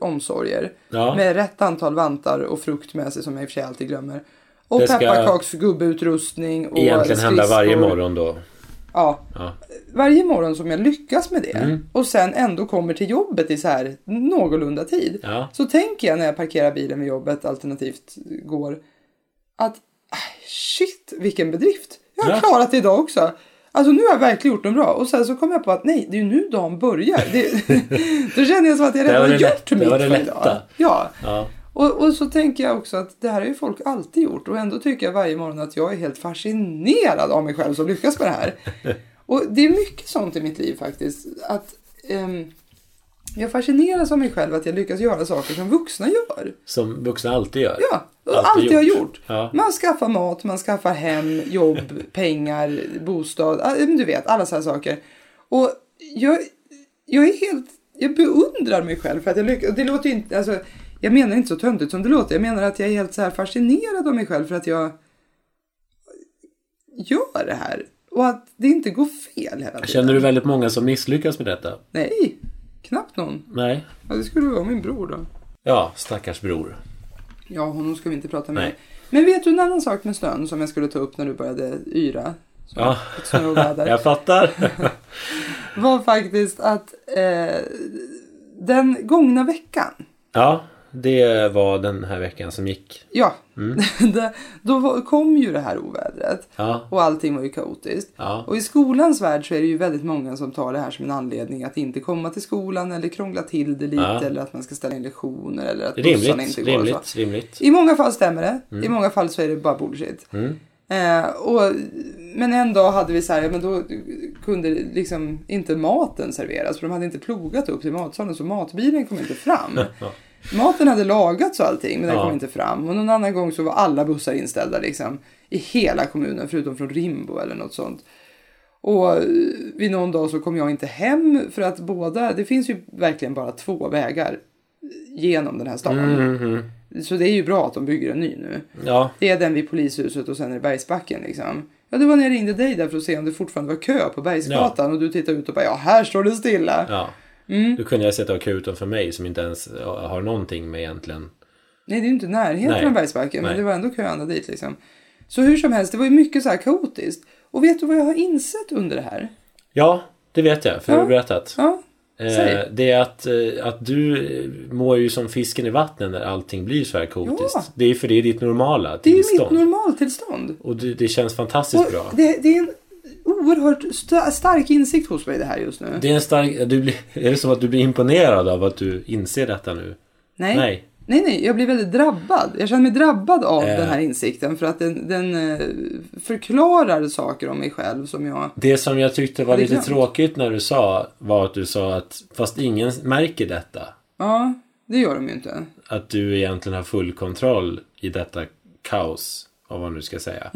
[SPEAKER 3] omsorger
[SPEAKER 2] Ja.
[SPEAKER 3] med rätt antal vantar och frukt med sig som jag i och för sig alltid glömmer. Och
[SPEAKER 2] Det ska-
[SPEAKER 3] pepparkaksgubbutrustning och
[SPEAKER 2] Egentligen handlar varje
[SPEAKER 3] skridskor.
[SPEAKER 2] morgon då.
[SPEAKER 3] Ja,
[SPEAKER 2] Ja.
[SPEAKER 3] varje morgon som jag lyckas med det
[SPEAKER 2] Mm.
[SPEAKER 3] och sen ändå kommer till jobbet i så här någorlunda tid.
[SPEAKER 2] Ja.
[SPEAKER 3] Så tänker jag när jag parkerar bilen vid jobbet alternativt går att aj, shit vilken bedrift. Jag har
[SPEAKER 2] Ja.
[SPEAKER 3] klarat det idag också. Alltså nu har jag verkligen gjort dem bra. Och sen så kom jag på att nej, det är ju nu dagen börjar. Det, [laughs] då känner jag som att jag
[SPEAKER 2] Det
[SPEAKER 3] redan
[SPEAKER 2] var det
[SPEAKER 3] har
[SPEAKER 2] lätt-
[SPEAKER 3] gjort
[SPEAKER 2] det
[SPEAKER 3] mitt
[SPEAKER 2] var det
[SPEAKER 3] för
[SPEAKER 2] lätta.
[SPEAKER 3] idag. Ja.
[SPEAKER 2] Ja.
[SPEAKER 3] Och, och så tänker jag också att det här har ju folk alltid gjort. Och ändå tycker jag varje morgon att jag är helt fascinerad av mig själv som lyckas med det här. Och det är mycket sånt i mitt liv faktiskt. Att ehm, jag fascineras av mig själv att jag lyckas göra saker som vuxna gör.
[SPEAKER 2] Som vuxna alltid gör.
[SPEAKER 3] Ja, allt, allt jag har gjort.
[SPEAKER 2] Ja.
[SPEAKER 3] Man skaffar mat, man skaffar hem, jobb, pengar, bostad. ah, men Du vet, alla sådana saker. Och jag, jag är helt... Jag beundrar mig själv för att jag lyckas. Det låter ju inte... Alltså, jag menar inte så töntigt som det låter. Jag menar att jag är helt så här fascinerad av mig själv för att jag gör det här. Och att det inte går fel hela tiden.
[SPEAKER 2] Känner du väldigt många som misslyckas med detta?
[SPEAKER 3] Nej, knappt någon.
[SPEAKER 2] Nej.
[SPEAKER 3] Ja, det skulle vara min bror då.
[SPEAKER 2] Ja, stackars bror.
[SPEAKER 3] Ja, honom ska vi inte prata med.
[SPEAKER 2] Nej.
[SPEAKER 3] Men vet du en annan sak med snön som jag skulle ta upp när du började yra?
[SPEAKER 2] [laughs]
[SPEAKER 3] Som
[SPEAKER 2] Ja.
[SPEAKER 3] ett snöoväder.
[SPEAKER 2] Jag fattar.
[SPEAKER 3] Var faktiskt att eh, den gångna veckan.
[SPEAKER 2] ja, det var den här veckan som gick.
[SPEAKER 3] Ja, [laughs] det, då var- kom ju det här ovädret.
[SPEAKER 2] Mm. Ja,
[SPEAKER 3] Och allting var ju kaotiskt.
[SPEAKER 2] ja,
[SPEAKER 3] Och i skolans värld så är det ju väldigt många som tar det här som en anledning att inte komma till skolan eller krångla till det lite
[SPEAKER 2] Ja.
[SPEAKER 3] eller att man ska ställa in lektioner eller att bussarna
[SPEAKER 2] rimligt,
[SPEAKER 3] inte går. och så.
[SPEAKER 2] rimligt, rimligt.
[SPEAKER 3] I många fall stämmer det. I många fall så är det bara bullshit. Eh, och, men en dag hade vi så här, ja, men då kunde liksom inte maten serveras. För de hade inte plogat upp till matsalen så matbilen kom inte fram. Maten hade lagats och allting men den
[SPEAKER 2] Ja.
[SPEAKER 3] kom inte fram. Och någon annan gång så var alla bussar inställda liksom. I hela kommunen förutom från Rimbo eller något sånt. Och eh, vid någon dag så kom jag inte hem för att båda, det finns ju verkligen bara två vägar eh, genom den här stan.
[SPEAKER 2] Mhm.
[SPEAKER 3] Så det är ju bra att de bygger en ny nu.
[SPEAKER 2] Ja,
[SPEAKER 3] Det är den vid polishuset och sen är det Bergsbacken liksom. Ja, det var när jag ringde dig där för att se om det fortfarande var kö på Bergsgatan och du tittade ut och bara ja, här står det stilla.
[SPEAKER 2] ja.
[SPEAKER 3] Mm.
[SPEAKER 2] Då kunde jag sätta akuten för mig som inte ens har någonting med egentligen.
[SPEAKER 3] Nej, det är ju inte närheten
[SPEAKER 2] Nej.
[SPEAKER 3] av Bergsbacken, men
[SPEAKER 2] Nej.
[SPEAKER 3] det var ändå kö ända dit liksom. Så hur som helst, det var ju mycket så här kaotiskt. Och vet du vad jag har insett under det här?
[SPEAKER 2] Ja, det vet jag, för du har berättat.
[SPEAKER 3] Ja,
[SPEAKER 2] Eh,
[SPEAKER 3] Säg.
[SPEAKER 2] det är att, eh, att du eh, mår ju som fisken i vattnet när allting blir så här kaotiskt.
[SPEAKER 3] Ja.
[SPEAKER 2] Det är för det är ditt normala
[SPEAKER 3] det är ju
[SPEAKER 2] tillstånd.
[SPEAKER 3] mitt normaltillstånd.
[SPEAKER 2] Och det, det känns fantastiskt
[SPEAKER 3] Och
[SPEAKER 2] bra.
[SPEAKER 3] det, det är en oerhört sta- stark insikt hos mig det här just nu.
[SPEAKER 2] Det är en stark... Du blir, [laughs] är det som att du blir imponerad av att du inser detta nu?
[SPEAKER 3] Nej.
[SPEAKER 2] Nej.
[SPEAKER 3] Nej, nej, jag blir väldigt drabbad. Jag känner mig drabbad av
[SPEAKER 2] Eh.
[SPEAKER 3] den här insikten för att den, den eh, förklarar saker om mig själv som jag...
[SPEAKER 2] Det som jag tyckte var
[SPEAKER 3] Hade
[SPEAKER 2] lite
[SPEAKER 3] glömt.
[SPEAKER 2] tråkigt när du sa var att du sa att fast ingen märker detta.
[SPEAKER 3] Ja, det gör de ju inte.
[SPEAKER 2] Att du egentligen har full kontroll i detta kaos. Av vad man nu ska säga.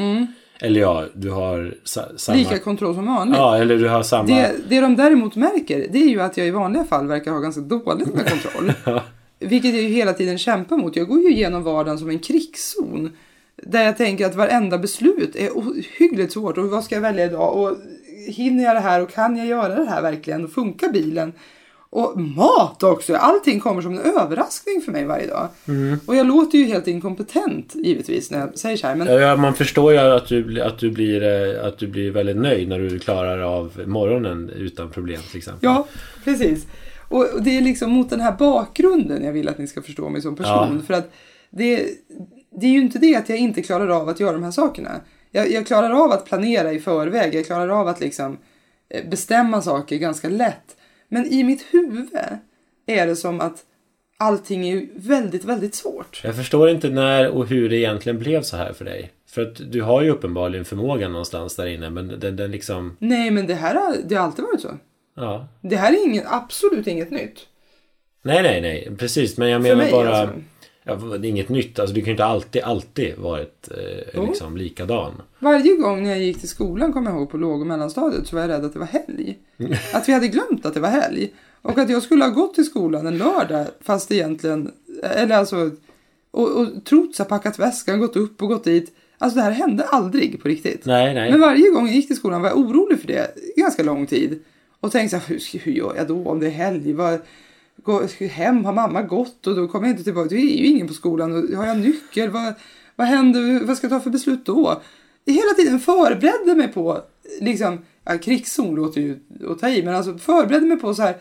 [SPEAKER 2] Eller ja, du har sa, samma...
[SPEAKER 3] Mm. Lika kontroll som vanligt.
[SPEAKER 2] ja, eller du har samma...
[SPEAKER 3] Det, det de däremot märker, det är ju att jag i vanliga fall verkar ha ganska dåligt med kontroll. Vilket jag ju hela tiden kämpar mot. Jag går ju igenom vardagen som en krigszon. Där jag tänker att varenda beslut är ohyggligt svårt. Och vad ska jag välja idag? Och hinner jag det här? Och kan jag göra det här verkligen? Och funkar bilen? Och mat också! Allting kommer som en överraskning för mig varje dag. Och jag låter ju helt inkompetent givetvis när jag säger så här. Men
[SPEAKER 2] Ja, man förstår ju att du, bli- att, du blir, eh, att du blir väldigt nöjd när du klarar av morgonen utan problem till exempel.
[SPEAKER 3] Ja, precis. Och och det är liksom mot den här bakgrunden jag vill att ni ska förstå mig som person. För att det, det är ju inte det att jag inte klarar av att göra de här sakerna. Jag, jag klarar av att planera i förväg. Jag klarar av att liksom eh, bestämma saker ganska lätt. Men i mitt huvud är det som att allting är ju väldigt, väldigt svårt.
[SPEAKER 2] Jag förstår inte när och hur det egentligen blev så här för dig. För att du har ju uppenbarligen förmågan någonstans där inne men den, den liksom...
[SPEAKER 3] Nej, men det här har, det har alltid varit så.
[SPEAKER 2] Ja.
[SPEAKER 3] Det här är inget, absolut inget nytt.
[SPEAKER 2] Nej, nej, nej. Precis. Men jag
[SPEAKER 3] För
[SPEAKER 2] menar
[SPEAKER 3] mig,
[SPEAKER 2] bara...
[SPEAKER 3] alltså.
[SPEAKER 2] Ja, det är inget nytt. Alltså du kan ju inte alltid, alltid varit eh,
[SPEAKER 3] Jo.
[SPEAKER 2] liksom likadan.
[SPEAKER 3] Varje gång när jag gick till skolan, kommer jag ihåg, på låg och mellanstadiet så var jag rädd att det var helg. Att vi hade glömt att det var helg. Och att jag skulle ha gått till skolan en lördag fast egentligen, eller alltså, och, och trott så här, packat väskan, gått upp och gått dit. Alltså det här hände aldrig på riktigt.
[SPEAKER 2] Nej, nej.
[SPEAKER 3] Men varje gång jag gick till skolan var jag orolig för det i ganska lång tid. Och tänkte så här, hur, ska- hur gör jag då om det är helg? Vad, gå hem, har mamma gått och då kommer jag inte tillbaka. Det är ju ingen på skolan. Och har jag nyckel? Vad, vad händer? Vad ska jag ta för beslut då? Jag hela tiden förberedde mig på, liksom, ja, krigszon låter ju att ta i, men alltså förberedde mig på så här,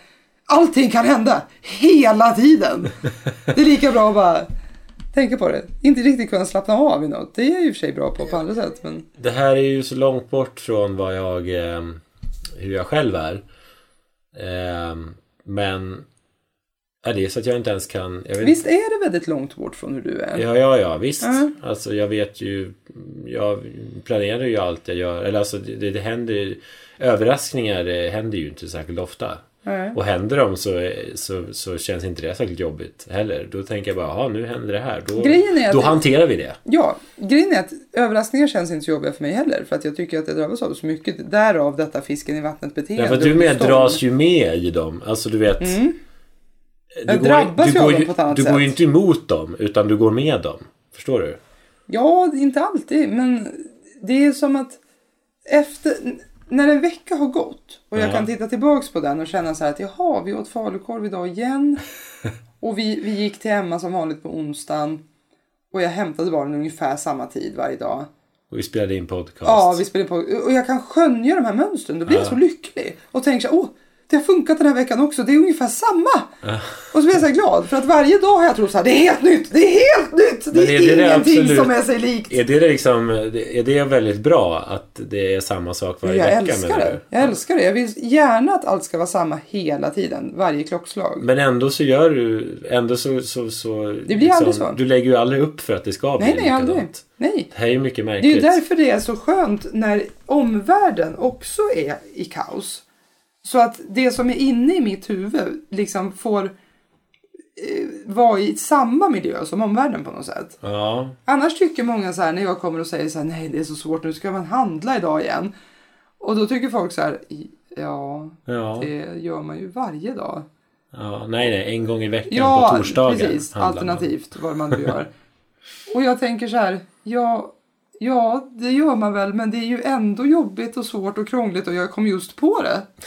[SPEAKER 3] allting kan hända hela tiden. Det är lika bra att bara tänka på det. Inte riktigt kunna slappna av i något. Det är jag i och för sig bra på på andra sätt. Men
[SPEAKER 2] Det här är ju så långt bort från vad jag, ehm, hur jag själv är. Ehm, men, är det är så att jag inte ens kan... Jag vet,
[SPEAKER 3] visst är det väldigt långt bort från hur du är?
[SPEAKER 2] Ja, ja, ja, visst.
[SPEAKER 3] Ja.
[SPEAKER 2] Alltså jag vet ju, jag planerar ju allt jag gör. Eller alltså det, det händer ju- överraskningar eh, händer ju inte särskilt ofta.
[SPEAKER 3] Nej.
[SPEAKER 2] Och händer de så, så, så känns inte det särskilt jobbigt heller. Då tänker jag bara, jaha nu händer det här. Då,
[SPEAKER 3] Grejen är att-
[SPEAKER 2] då hanterar vi det.
[SPEAKER 3] Ja, grejen är att överraskningar känns inte så jobbiga för mig heller. För att jag tycker att jag drabbas av så mycket. Därav detta fisken i vattnet beteende.
[SPEAKER 2] Därför att du med dras ju med i dem. Alltså du vet. Du
[SPEAKER 3] Jag drabbas
[SPEAKER 2] du
[SPEAKER 3] ju
[SPEAKER 2] går
[SPEAKER 3] av dem på ett annat
[SPEAKER 2] Du går ju
[SPEAKER 3] sätt.
[SPEAKER 2] inte emot dem, utan du går med dem. Förstår du?
[SPEAKER 3] Ja, inte alltid. Men det är som att efter, n- när en vecka har gått och jag
[SPEAKER 2] Ja.
[SPEAKER 3] kan titta tillbaks på den och känna så här att jaha, vi åt falukorv idag
[SPEAKER 2] [laughs]
[SPEAKER 3] igen. och vi, vi gick till Emma som vanligt på onsdagen. Och jag hämtade barnen ungefär samma tid varje dag.
[SPEAKER 2] Och vi spelade in podcast.
[SPEAKER 3] Ja, vi spelade på. Och jag kan skönja de här mönstren. Då blir jag så lycklig. Och tänker så här, åh, det har funkat den här veckan också. Det är ungefär samma. Och så blir jag så här glad. För att varje dag har jag trott så här, det är helt nytt, det är helt nytt. Det
[SPEAKER 2] Men
[SPEAKER 3] är,
[SPEAKER 2] är det det
[SPEAKER 3] ingenting
[SPEAKER 2] absolut-
[SPEAKER 3] som är sig likt.
[SPEAKER 2] Är det liksom, är det väldigt bra att det är samma sak varje
[SPEAKER 3] Jag
[SPEAKER 2] vecka?
[SPEAKER 3] älskar
[SPEAKER 2] menar du?
[SPEAKER 3] det. Jag älskar det. Jag vill gärna att allt ska vara samma hela tiden. Varje klockslag.
[SPEAKER 2] Men ändå så gör du, ändå så... så, så det
[SPEAKER 3] blir aldrig så.
[SPEAKER 2] Du lägger ju aldrig upp för att det ska
[SPEAKER 3] Nej,
[SPEAKER 2] bli
[SPEAKER 3] nej, aldrig.
[SPEAKER 2] likadant.
[SPEAKER 3] Nej.
[SPEAKER 2] Det här är ju mycket
[SPEAKER 3] Det är ju
[SPEAKER 2] märkligt.
[SPEAKER 3] därför det är så skönt när omvärlden också är i kaos. Så att det som är inne i mitt huvud liksom får eh, vara i samma miljö som omvärlden på något sätt.
[SPEAKER 2] Ja,
[SPEAKER 3] Annars tycker många så här när jag kommer och säger så här nej det är så svårt nu ska man handla idag igen. Och då tycker folk så här ja
[SPEAKER 2] ja,
[SPEAKER 3] det gör man ju varje dag.
[SPEAKER 2] ja. Nej, nej. En gång i veckan på
[SPEAKER 3] Ja,
[SPEAKER 2] torsdagar.
[SPEAKER 3] precis.
[SPEAKER 2] handlar man.
[SPEAKER 3] Alternativt vad man nu gör. och jag tänker så här, ja, ja, det gör man väl, men det är ju ändå jobbigt och svårt och krångligt och jag kom just
[SPEAKER 2] [laughs]
[SPEAKER 3] på det.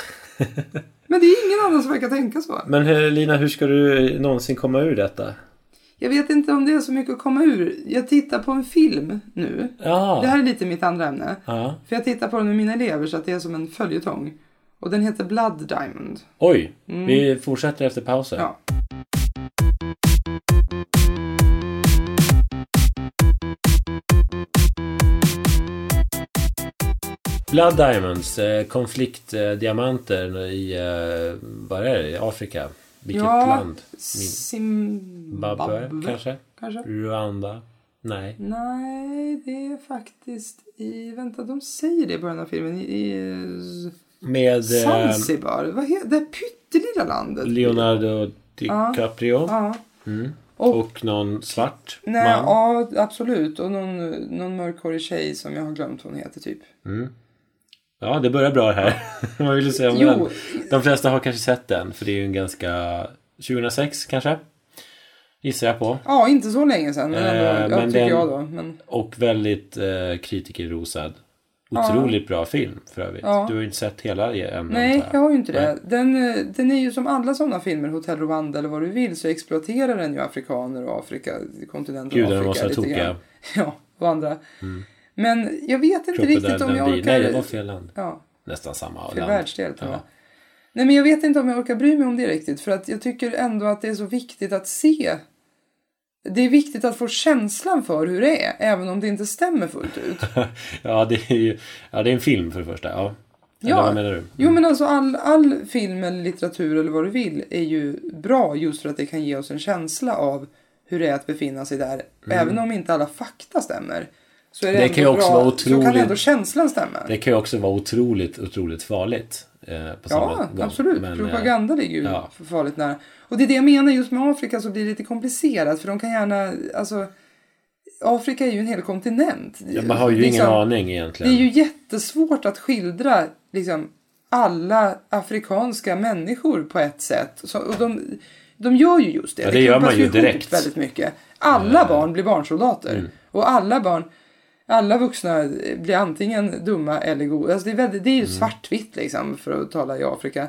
[SPEAKER 3] men det är ingen annan som verkar tänka så.
[SPEAKER 2] Men eh, Lina, hur ska du någonsin komma ur detta?
[SPEAKER 3] Jag vet inte om det är så mycket att komma ur. Jag tittar på en film nu.
[SPEAKER 2] Ja.
[SPEAKER 3] Det här är lite mitt andra ämne.
[SPEAKER 2] ja.
[SPEAKER 3] För jag tittar på den med mina elever så att det är som en följetong. Och den heter Blood Diamond.
[SPEAKER 2] Oj, vi fortsätter efter pausen.
[SPEAKER 3] Mm. Ja.
[SPEAKER 2] Blood Diamonds, eh, konfliktdiamanter i, eh, vad är det, Afrika? Vilket
[SPEAKER 3] Ja,
[SPEAKER 2] land? Zimbabwe,
[SPEAKER 3] Zimbabwe
[SPEAKER 2] kanske?
[SPEAKER 3] kanske?
[SPEAKER 2] Rwanda? Nej.
[SPEAKER 3] Nej, det är faktiskt i... Vänta, de säger det i början av filmen. I, i
[SPEAKER 2] Med eh,
[SPEAKER 3] Zanzibar. Vad heter det? här pyttelilla landet.
[SPEAKER 2] Leonardo DiCaprio
[SPEAKER 3] Ja.
[SPEAKER 2] och, någon svart
[SPEAKER 3] Nej,
[SPEAKER 2] man.
[SPEAKER 3] ja, absolut. Och någon, någon mörkhårig tjej som jag har glömt vad hon heter typ.
[SPEAKER 2] Ja, det börjar bra här. [laughs] Vad vill du säga om
[SPEAKER 3] Jo.
[SPEAKER 2] den? De flesta har kanske sett den, för det är ju en ganska... 2006 kanske? Gissar jag på.
[SPEAKER 3] Ja, inte så länge sedan. Men ändå,
[SPEAKER 2] Eh,
[SPEAKER 3] ja,
[SPEAKER 2] men
[SPEAKER 3] tycker
[SPEAKER 2] den-
[SPEAKER 3] jag då. Men,
[SPEAKER 2] Och väldigt eh, kritikerrosad. Otroligt bra film för övrigt.
[SPEAKER 3] Ja.
[SPEAKER 2] Du har ju inte sett hela än
[SPEAKER 3] nej,
[SPEAKER 2] antar
[SPEAKER 3] jag har ju inte det. Den, eh, den är ju som alla sådana filmer, Hotel Rwanda eller vad du vill, så exploaterar den ju afrikaner och Afrika, kontinenten och
[SPEAKER 2] Gudarna måste
[SPEAKER 3] Afrika.
[SPEAKER 2] vara
[SPEAKER 3] lite
[SPEAKER 2] tokiga.
[SPEAKER 3] grann. [laughs]
[SPEAKER 2] Mm.
[SPEAKER 3] Ja, och andra. Men jag vet inte riktigt om
[SPEAKER 2] Crocodile
[SPEAKER 3] jag
[SPEAKER 2] Dundee.
[SPEAKER 3] orkar...
[SPEAKER 2] Nej, det var fel land.
[SPEAKER 3] Ja,
[SPEAKER 2] Nästan samma
[SPEAKER 3] för
[SPEAKER 2] land.
[SPEAKER 3] världsdel tror
[SPEAKER 2] Ja.
[SPEAKER 3] jag. Nej men jag vet inte om jag orkar bry mig om det riktigt. För att jag tycker ändå att det är så viktigt att se. Det är viktigt att få känslan för hur det är. Även om det inte stämmer fullt ut.
[SPEAKER 2] [laughs] ja, det är ju... Ja, det är en film för det första. Ja. Eller
[SPEAKER 3] Ja.
[SPEAKER 2] vad menar du?
[SPEAKER 3] Jo men alltså all, all film eller litteratur eller vad du vill är ju bra just för att det kan ge oss en känsla av hur det är att befinna sig där. Även om inte alla fakta stämmer. Så är det,
[SPEAKER 2] Mm. Det
[SPEAKER 3] ändå
[SPEAKER 2] kan ju också
[SPEAKER 3] bra,
[SPEAKER 2] vara
[SPEAKER 3] Så kan
[SPEAKER 2] otroligt-
[SPEAKER 3] ändå känslan stämma.
[SPEAKER 2] Det kan ju också vara otroligt, otroligt farligt. Eh, på samma
[SPEAKER 3] Ja,
[SPEAKER 2] gång.
[SPEAKER 3] absolut.
[SPEAKER 2] Men, eh,
[SPEAKER 3] Propaganda ligger ju
[SPEAKER 2] ja.
[SPEAKER 3] farligt nära. Och det är det jag menar, just med Afrika så blir det lite komplicerat för de kan gärna, alltså Afrika är ju en hel kontinent.
[SPEAKER 2] Ja, man har ju
[SPEAKER 3] Liksom,
[SPEAKER 2] ingen aning
[SPEAKER 3] Det är
[SPEAKER 2] egentligen.
[SPEAKER 3] ju jättesvårt att skildra liksom alla afrikanska människor på ett sätt. Så, och de, de gör ju just det.
[SPEAKER 2] Ja, det gör
[SPEAKER 3] klumpas
[SPEAKER 2] man ju
[SPEAKER 3] ihop
[SPEAKER 2] direkt. Mm.
[SPEAKER 3] väldigt mycket. Alla barn blir barnsoldater. Och alla barn, alla vuxna blir antingen dumma eller goda. Alltså det, är väldigt, det
[SPEAKER 2] Mm.
[SPEAKER 3] är ju svartvitt liksom för att tala i Afrika.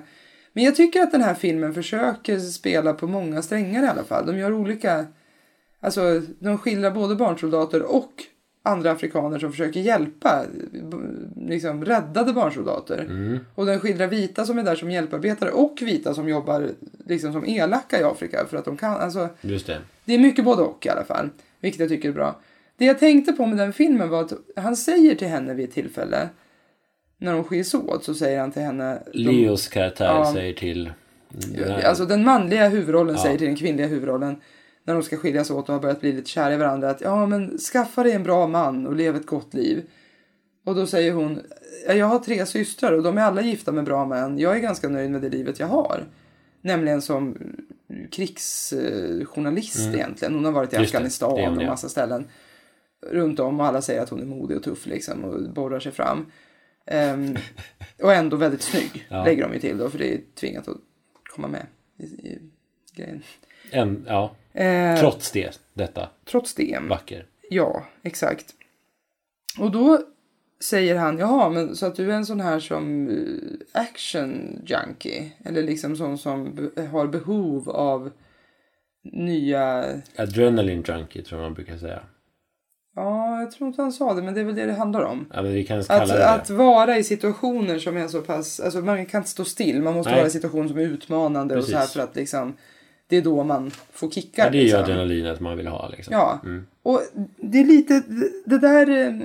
[SPEAKER 3] Men jag tycker att den här filmen försöker spela på många strängar i alla fall. De gör olika, alltså de skildrar både barnsoldater och andra afrikaner som försöker hjälpa, b- liksom räddade barnsoldater. Och den skildrar vita som är där som hjälparbetare och vita som jobbar liksom som elaka i Afrika för att de kan, alltså
[SPEAKER 2] Just det.
[SPEAKER 3] det är mycket både och i alla fall. Vilket jag tycker är bra. Det jag tänkte på med den filmen var att han säger till henne vid ett tillfälle. När de skiljs åt så säger han till henne. De,
[SPEAKER 2] Leos karaktär
[SPEAKER 3] Ja.
[SPEAKER 2] säger till...
[SPEAKER 3] alltså den manliga huvudrollen säger till den kvinnliga huvudrollen. När de ska skiljas åt och har börjat bli lite kära i varandra. Att ja men skaffa dig en bra man och lev ett gott liv. Och då säger hon. "Ja, Jag har tre systrar och de är alla gifta med bra män. Jag är ganska nöjd med det livet jag har. Nämligen som krigsjournalist egentligen. Hon har varit i
[SPEAKER 2] Mm. Just det,
[SPEAKER 3] Afghanistan
[SPEAKER 2] det är hon,
[SPEAKER 3] och
[SPEAKER 2] ja.
[SPEAKER 3] massa ställen. Runt om och alla säger att hon är modig och tuff liksom och borrar sig fram. Ehm, och ändå väldigt snygg lägger de ju till då för det är tvingat att komma med i, i grejen.
[SPEAKER 2] En, ja.
[SPEAKER 3] Ehm,
[SPEAKER 2] Trots det, detta.
[SPEAKER 3] trots det.
[SPEAKER 2] Vacker.
[SPEAKER 3] Ja, exakt. Och då säger han, jaha, men så att du är en sån här som eh, action junkie. Eller liksom sån som be- har behov av nya...
[SPEAKER 2] Adrenaline junkie tror jag man brukar säga.
[SPEAKER 3] Ja, jag tror inte han sa det, men det är väl det det handlar om.
[SPEAKER 2] Ja, men vi kan kalla
[SPEAKER 3] Att,
[SPEAKER 2] det
[SPEAKER 3] att vara i situationer som är så pass, alltså man kan inte stå still. Man måste
[SPEAKER 2] Nej.
[SPEAKER 3] vara i situationer som är utmanande och så här
[SPEAKER 2] Precis.
[SPEAKER 3] för att liksom, det är då man får kickar.
[SPEAKER 2] ja, det är ju
[SPEAKER 3] liksom.
[SPEAKER 2] adrenalinet man vill ha liksom.
[SPEAKER 3] Ja, och det är lite, det där eh,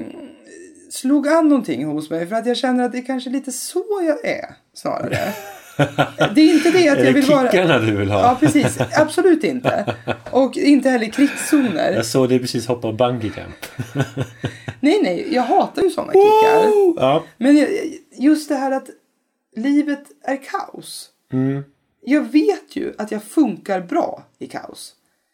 [SPEAKER 3] slog an någonting hos mig för att jag känner att det är kanske lite så jag är snarare.
[SPEAKER 2] [laughs]
[SPEAKER 3] det är inte det att
[SPEAKER 2] Är
[SPEAKER 3] jag
[SPEAKER 2] det
[SPEAKER 3] vill vara...
[SPEAKER 2] kickarna du vill ha?
[SPEAKER 3] Ja, precis. Absolut inte. Och inte heller
[SPEAKER 2] [laughs]
[SPEAKER 3] krigszoner.
[SPEAKER 2] Jag såg dig precis hoppa bungee jump.
[SPEAKER 3] Nej, nej, jag hatar ju sådana kickar.
[SPEAKER 2] Ja,
[SPEAKER 3] Men jag- jag- just det här att livet är kaos. Jag vet ju att jag funkar bra i kaos.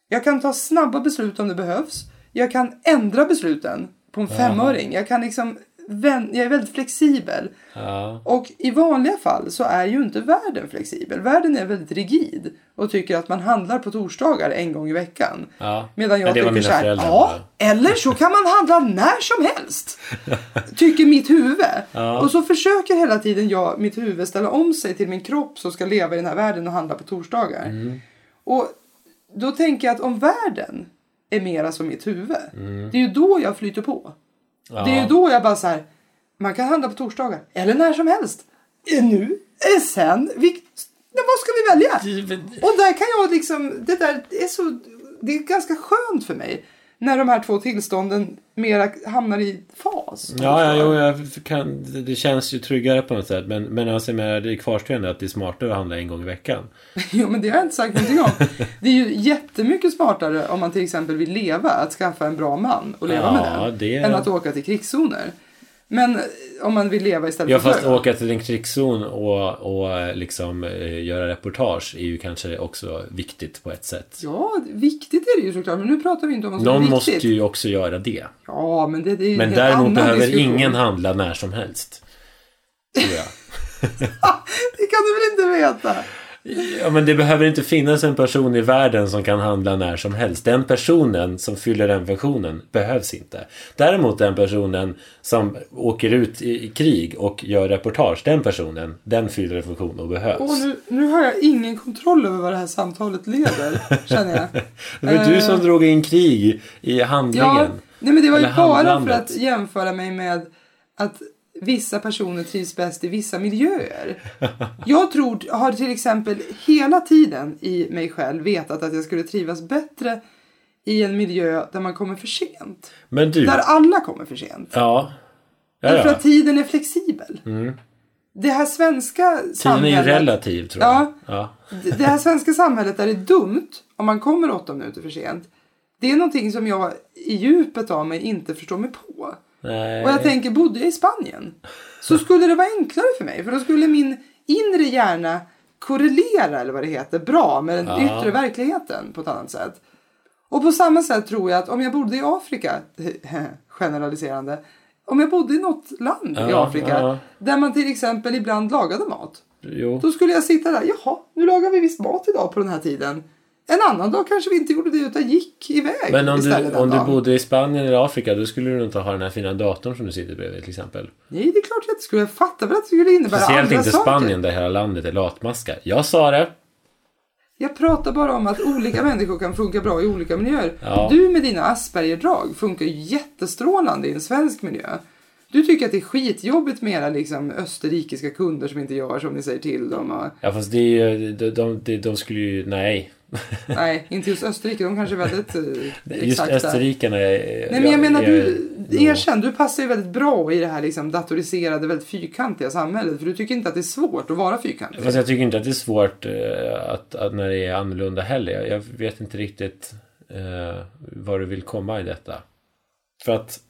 [SPEAKER 3] Jag kan ta snabba beslut om det behövs. Jag kan ändra besluten på en femöring. Jag kan liksom vän- jag är väldigt flexibel.
[SPEAKER 2] ja.
[SPEAKER 3] Och i vanliga fall så är ju inte världen flexibel. Världen är väldigt rigid och tycker att man handlar på torsdagar en gång i veckan.
[SPEAKER 2] Ja.
[SPEAKER 3] Medan jag
[SPEAKER 2] Ja, det var
[SPEAKER 3] tycker så
[SPEAKER 2] mina
[SPEAKER 3] här,
[SPEAKER 2] föräldrar
[SPEAKER 3] ja, eller så kan man handla när som
[SPEAKER 2] [laughs]
[SPEAKER 3] helst. Tycker mitt huvud. Och så försöker hela tiden jag, mitt huvud, ställa om sig till min kropp som ska leva i den här världen och handla på torsdagar.
[SPEAKER 2] Mm.
[SPEAKER 3] Och då tänker jag att om världen är mera som mitt huvud,
[SPEAKER 2] Mm.
[SPEAKER 3] det är ju då jag flyter på. Det är ju då jag bara så här, man kan handla på torsdagar eller när som helst. Eh, Nu, eh, sen, vilk, nej, vad ska vi välja? Och där kan jag liksom, det där är så, det är ganska skönt för mig. När de här två tillstånden mera hamnar i fas.
[SPEAKER 2] Ja, ja jo, jag kan, det känns ju tryggare på något sätt. Men, men alltså, jag menar, det kvarstår ju ändå att det är smartare att handla en gång i veckan.
[SPEAKER 3] [laughs] Jo, men det har jag inte sagt någonting om. Det är ju jättemycket smartare om man till exempel vill leva, att skaffa en bra man och leva
[SPEAKER 2] Ja,
[SPEAKER 3] med den.
[SPEAKER 2] det-
[SPEAKER 3] Än att åka till krigszoner. Men om man vill leva istället
[SPEAKER 2] Ja,
[SPEAKER 3] för
[SPEAKER 2] fast
[SPEAKER 3] dö.
[SPEAKER 2] åka till en krigszon och, och liksom eh, göra reportage är ju kanske också viktigt på ett sätt.
[SPEAKER 3] Ja, viktigt är det ju såklart. Men nu pratar vi inte om vad som är
[SPEAKER 2] Någon
[SPEAKER 3] viktigt.
[SPEAKER 2] måste ju också göra det.
[SPEAKER 3] Ja, men det, det är ju
[SPEAKER 2] Men
[SPEAKER 3] en helt annan
[SPEAKER 2] däremot behöver
[SPEAKER 3] diskussion.
[SPEAKER 2] ingen handla när som helst. Tror jag.
[SPEAKER 3] [laughs] Det kan du väl inte veta?
[SPEAKER 2] Ja, men det behöver inte finnas en person i världen som kan handla när som helst. Den personen som fyller den funktionen behövs inte. Däremot den personen som åker ut i i krig och gör reportage, den personen, den fyller en funktion och behövs.
[SPEAKER 3] Och nu, nu har jag ingen kontroll över vad det här
[SPEAKER 2] [laughs]
[SPEAKER 3] samtalet leder, känner jag.
[SPEAKER 2] det var du som drog in krig i handlingen.
[SPEAKER 3] Eh. Ja, nej men det var ju
[SPEAKER 2] Eller
[SPEAKER 3] bara för
[SPEAKER 2] handlandet.
[SPEAKER 3] att jämföra mig med att vissa personer trivs bäst i vissa miljöer. Jag tror, har till exempel hela tiden i mig själv vetat att jag skulle trivas bättre i en miljö där man kommer för sent.
[SPEAKER 2] Men du,
[SPEAKER 3] Där alla kommer för sent.
[SPEAKER 2] ja. ja,
[SPEAKER 3] Därför
[SPEAKER 2] ja. Mm.
[SPEAKER 3] att tiden är flexibel. Det här svenska
[SPEAKER 2] Tiden är ju
[SPEAKER 3] samhället.
[SPEAKER 2] relativ tror jag.
[SPEAKER 3] Ja.
[SPEAKER 2] Ja.
[SPEAKER 3] Det här svenska samhället där det är dumt om man kommer åtta minuter för sent. Det är någonting som jag i djupet av mig inte förstår mig på.
[SPEAKER 2] Nej.
[SPEAKER 3] Och jag tänker, bodde jag i Spanien så skulle det vara enklare för mig. För då skulle min inre hjärna korrelera, eller vad det heter, bra med den yttre verkligheten på ett annat sätt. Och på samma sätt tror jag att om jag bodde i Afrika, [laughs] generaliserande, om jag bodde i något land i
[SPEAKER 2] Ja,
[SPEAKER 3] Afrika
[SPEAKER 2] ja.
[SPEAKER 3] där man till exempel ibland lagade mat.
[SPEAKER 2] Jo.
[SPEAKER 3] Då skulle jag sitta där. Jaha, nu lagar vi visst mat idag på den här tiden. En annan dag kanske vi inte gjorde det utan gick iväg
[SPEAKER 2] Men om,
[SPEAKER 3] istället
[SPEAKER 2] du,
[SPEAKER 3] den
[SPEAKER 2] om du
[SPEAKER 3] dagen.
[SPEAKER 2] bodde i Spanien eller Afrika då skulle du inte ha den här fina datorn som du sitter bredvid till exempel.
[SPEAKER 3] Nej, det är klart jag inte skulle. Jag fattar väl att det skulle innebära
[SPEAKER 2] Speciellt
[SPEAKER 3] andra
[SPEAKER 2] inte
[SPEAKER 3] saker.
[SPEAKER 2] Spanien där hela landet är latmaskar. Jag sa det.
[SPEAKER 3] Jag pratar bara om att olika människor kan funka bra i olika miljöer.
[SPEAKER 2] Ja.
[SPEAKER 3] Du med dina Asperger-drag funkar ju jättestrålande i en svensk miljö. Du tycker att det är skitjobbigt med era liksom, österrikiska kunder som inte gör som ni säger till
[SPEAKER 2] [laughs]
[SPEAKER 3] dem. Och,
[SPEAKER 2] Ja fast det är ju, de, de, de, de skulle ju, nej. [laughs]
[SPEAKER 3] nej, inte just Österrike. De kanske är väldigt eh,
[SPEAKER 2] Just
[SPEAKER 3] exakta.
[SPEAKER 2] österrikarna är...
[SPEAKER 3] Nej, men jag menar, du,
[SPEAKER 2] Ja.
[SPEAKER 3] erkänn, du passar ju väldigt bra i det här liksom, datoriserade, väldigt fyrkantiga samhället. För du tycker inte att det är svårt att vara fyrkantig.
[SPEAKER 2] Fast jag tycker inte att det är svårt eh, att, att när det är annorlunda heller. Jag, jag vet inte riktigt eh, var du vill komma i detta. För att...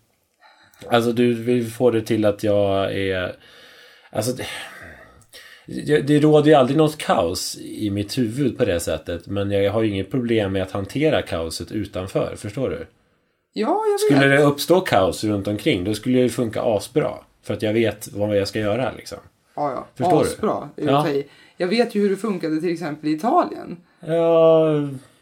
[SPEAKER 2] Alltså du vill få det till att jag är... Alltså... Det, det, det råder ju aldrig något kaos i mitt huvud på det sättet. Men jag har ju inget problem med att hantera kaoset utanför. Förstår du?
[SPEAKER 3] Ja, jag vet.
[SPEAKER 2] Skulle det uppstå kaos runt omkring då skulle det ju funka asbra. För att jag vet vad jag ska göra liksom.
[SPEAKER 3] Ja, ja.
[SPEAKER 2] Förstår du?
[SPEAKER 3] Asbra, är
[SPEAKER 2] Ja.
[SPEAKER 3] att ta i. Jag vet ju hur det funkade till exempel i Italien.
[SPEAKER 2] Ja,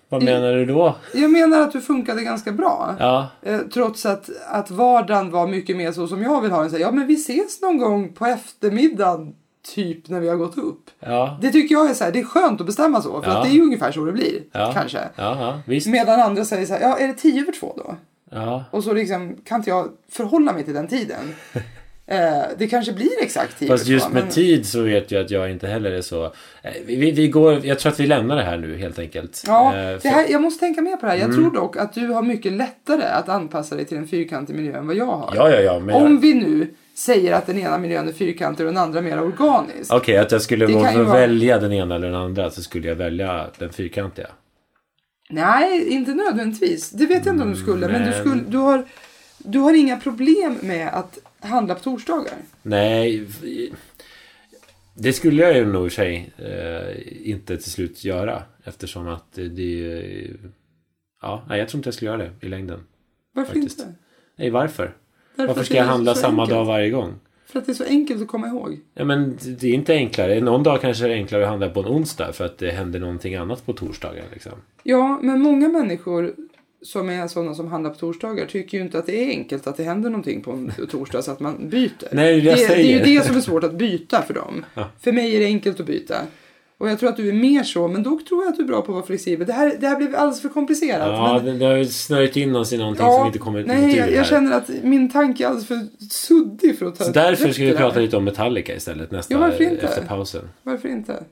[SPEAKER 2] vad menar du då?
[SPEAKER 3] Jag menar att du funkade ganska bra.
[SPEAKER 2] Ja,
[SPEAKER 3] Eh, trots att, att vardagen var mycket mer så som jag vill ha den. Så här, ja, men vi ses någon gång på eftermiddagen. Typ när vi har gått upp.
[SPEAKER 2] ja,
[SPEAKER 3] Det tycker jag är så här, det är skönt att bestämma så. För
[SPEAKER 2] Ja.
[SPEAKER 3] att det är ju ungefär så det blir.
[SPEAKER 2] ja.
[SPEAKER 3] Kanske.
[SPEAKER 2] Ja, ja visst.
[SPEAKER 3] Medan andra säger så här, ja är det tio över två då?
[SPEAKER 2] Ja.
[SPEAKER 3] Och så liksom kan inte jag förhålla mig till den tiden.
[SPEAKER 2] [laughs]
[SPEAKER 3] eh, det kanske blir exakt tio
[SPEAKER 2] Fast
[SPEAKER 3] över
[SPEAKER 2] just
[SPEAKER 3] två,
[SPEAKER 2] med
[SPEAKER 3] men-
[SPEAKER 2] tid så vet jag att jag inte heller är så... Eh, Vi, vi- vi går, jag tror att vi lämnar det här nu helt enkelt.
[SPEAKER 3] Ja,
[SPEAKER 2] Eh, Mm. för-
[SPEAKER 3] det här, jag måste tänka mer på det här. Jag tror dock att du har mycket lättare att anpassa dig till en fyrkantig miljö än vad jag har.
[SPEAKER 2] ja, ja, ja. Men
[SPEAKER 3] Om
[SPEAKER 2] jag,
[SPEAKER 3] vi nu säger att den ena miljön är fyrkantig och den andra mer organisk.
[SPEAKER 2] okej, att jag skulle
[SPEAKER 3] Det
[SPEAKER 2] gå
[SPEAKER 3] kan ju
[SPEAKER 2] och
[SPEAKER 3] vara-
[SPEAKER 2] välja den ena eller den andra så skulle jag välja den fyrkantiga.
[SPEAKER 3] Nej, inte nödvändigtvis. Det vet jag inte om du skulle. Men, du,
[SPEAKER 2] men-
[SPEAKER 3] skulle, du, har, du har inga problem med att handla på torsdagar.
[SPEAKER 2] Nej, det skulle jag ju nog i och för sig eh, inte till slut göra. Eftersom att det- det... eh, Ja, nej, jag tror inte jag skulle göra det i längden.
[SPEAKER 3] Varför
[SPEAKER 2] Faktiskt.
[SPEAKER 3] inte?
[SPEAKER 2] Nej, varför?
[SPEAKER 3] Därför
[SPEAKER 2] Varför
[SPEAKER 3] att
[SPEAKER 2] ska
[SPEAKER 3] det
[SPEAKER 2] jag
[SPEAKER 3] är
[SPEAKER 2] handla
[SPEAKER 3] så
[SPEAKER 2] samma
[SPEAKER 3] enkelt.
[SPEAKER 2] dag varje gång?
[SPEAKER 3] För att det är så enkelt att komma ihåg.
[SPEAKER 2] Ja, men det är inte enklare. Någon dag kanske det är enklare att handla på en onsdag för att det händer någonting annat på torsdagar. Liksom.
[SPEAKER 3] Ja, men många människor som är sådana som handlar på torsdagar tycker ju inte att det är enkelt att det händer någonting på en torsdag så att man byter.
[SPEAKER 2] Nej, det är det jag
[SPEAKER 3] det, det är
[SPEAKER 2] säger.
[SPEAKER 3] ju det som är svårt att byta för dem.
[SPEAKER 2] Ja.
[SPEAKER 3] För mig är det enkelt att byta. Och jag tror att du är mer så, men dock tror jag att du är bra på att vara flexibel. Det här, det här blev alldeles för komplicerat.
[SPEAKER 2] Ja,
[SPEAKER 3] men,
[SPEAKER 2] det, det har ju snöjt in oss i någonting som inte kommer ut
[SPEAKER 3] nej,
[SPEAKER 2] ur
[SPEAKER 3] jag,
[SPEAKER 2] det här.
[SPEAKER 3] jag känner att min tanke är alldeles för suddig för att ta
[SPEAKER 2] Så därför
[SPEAKER 3] upp
[SPEAKER 2] ska vi
[SPEAKER 3] det här.
[SPEAKER 2] prata lite om Metallica istället nästa,
[SPEAKER 3] Ja, varför inte?
[SPEAKER 2] efter pausen.
[SPEAKER 3] Varför inte?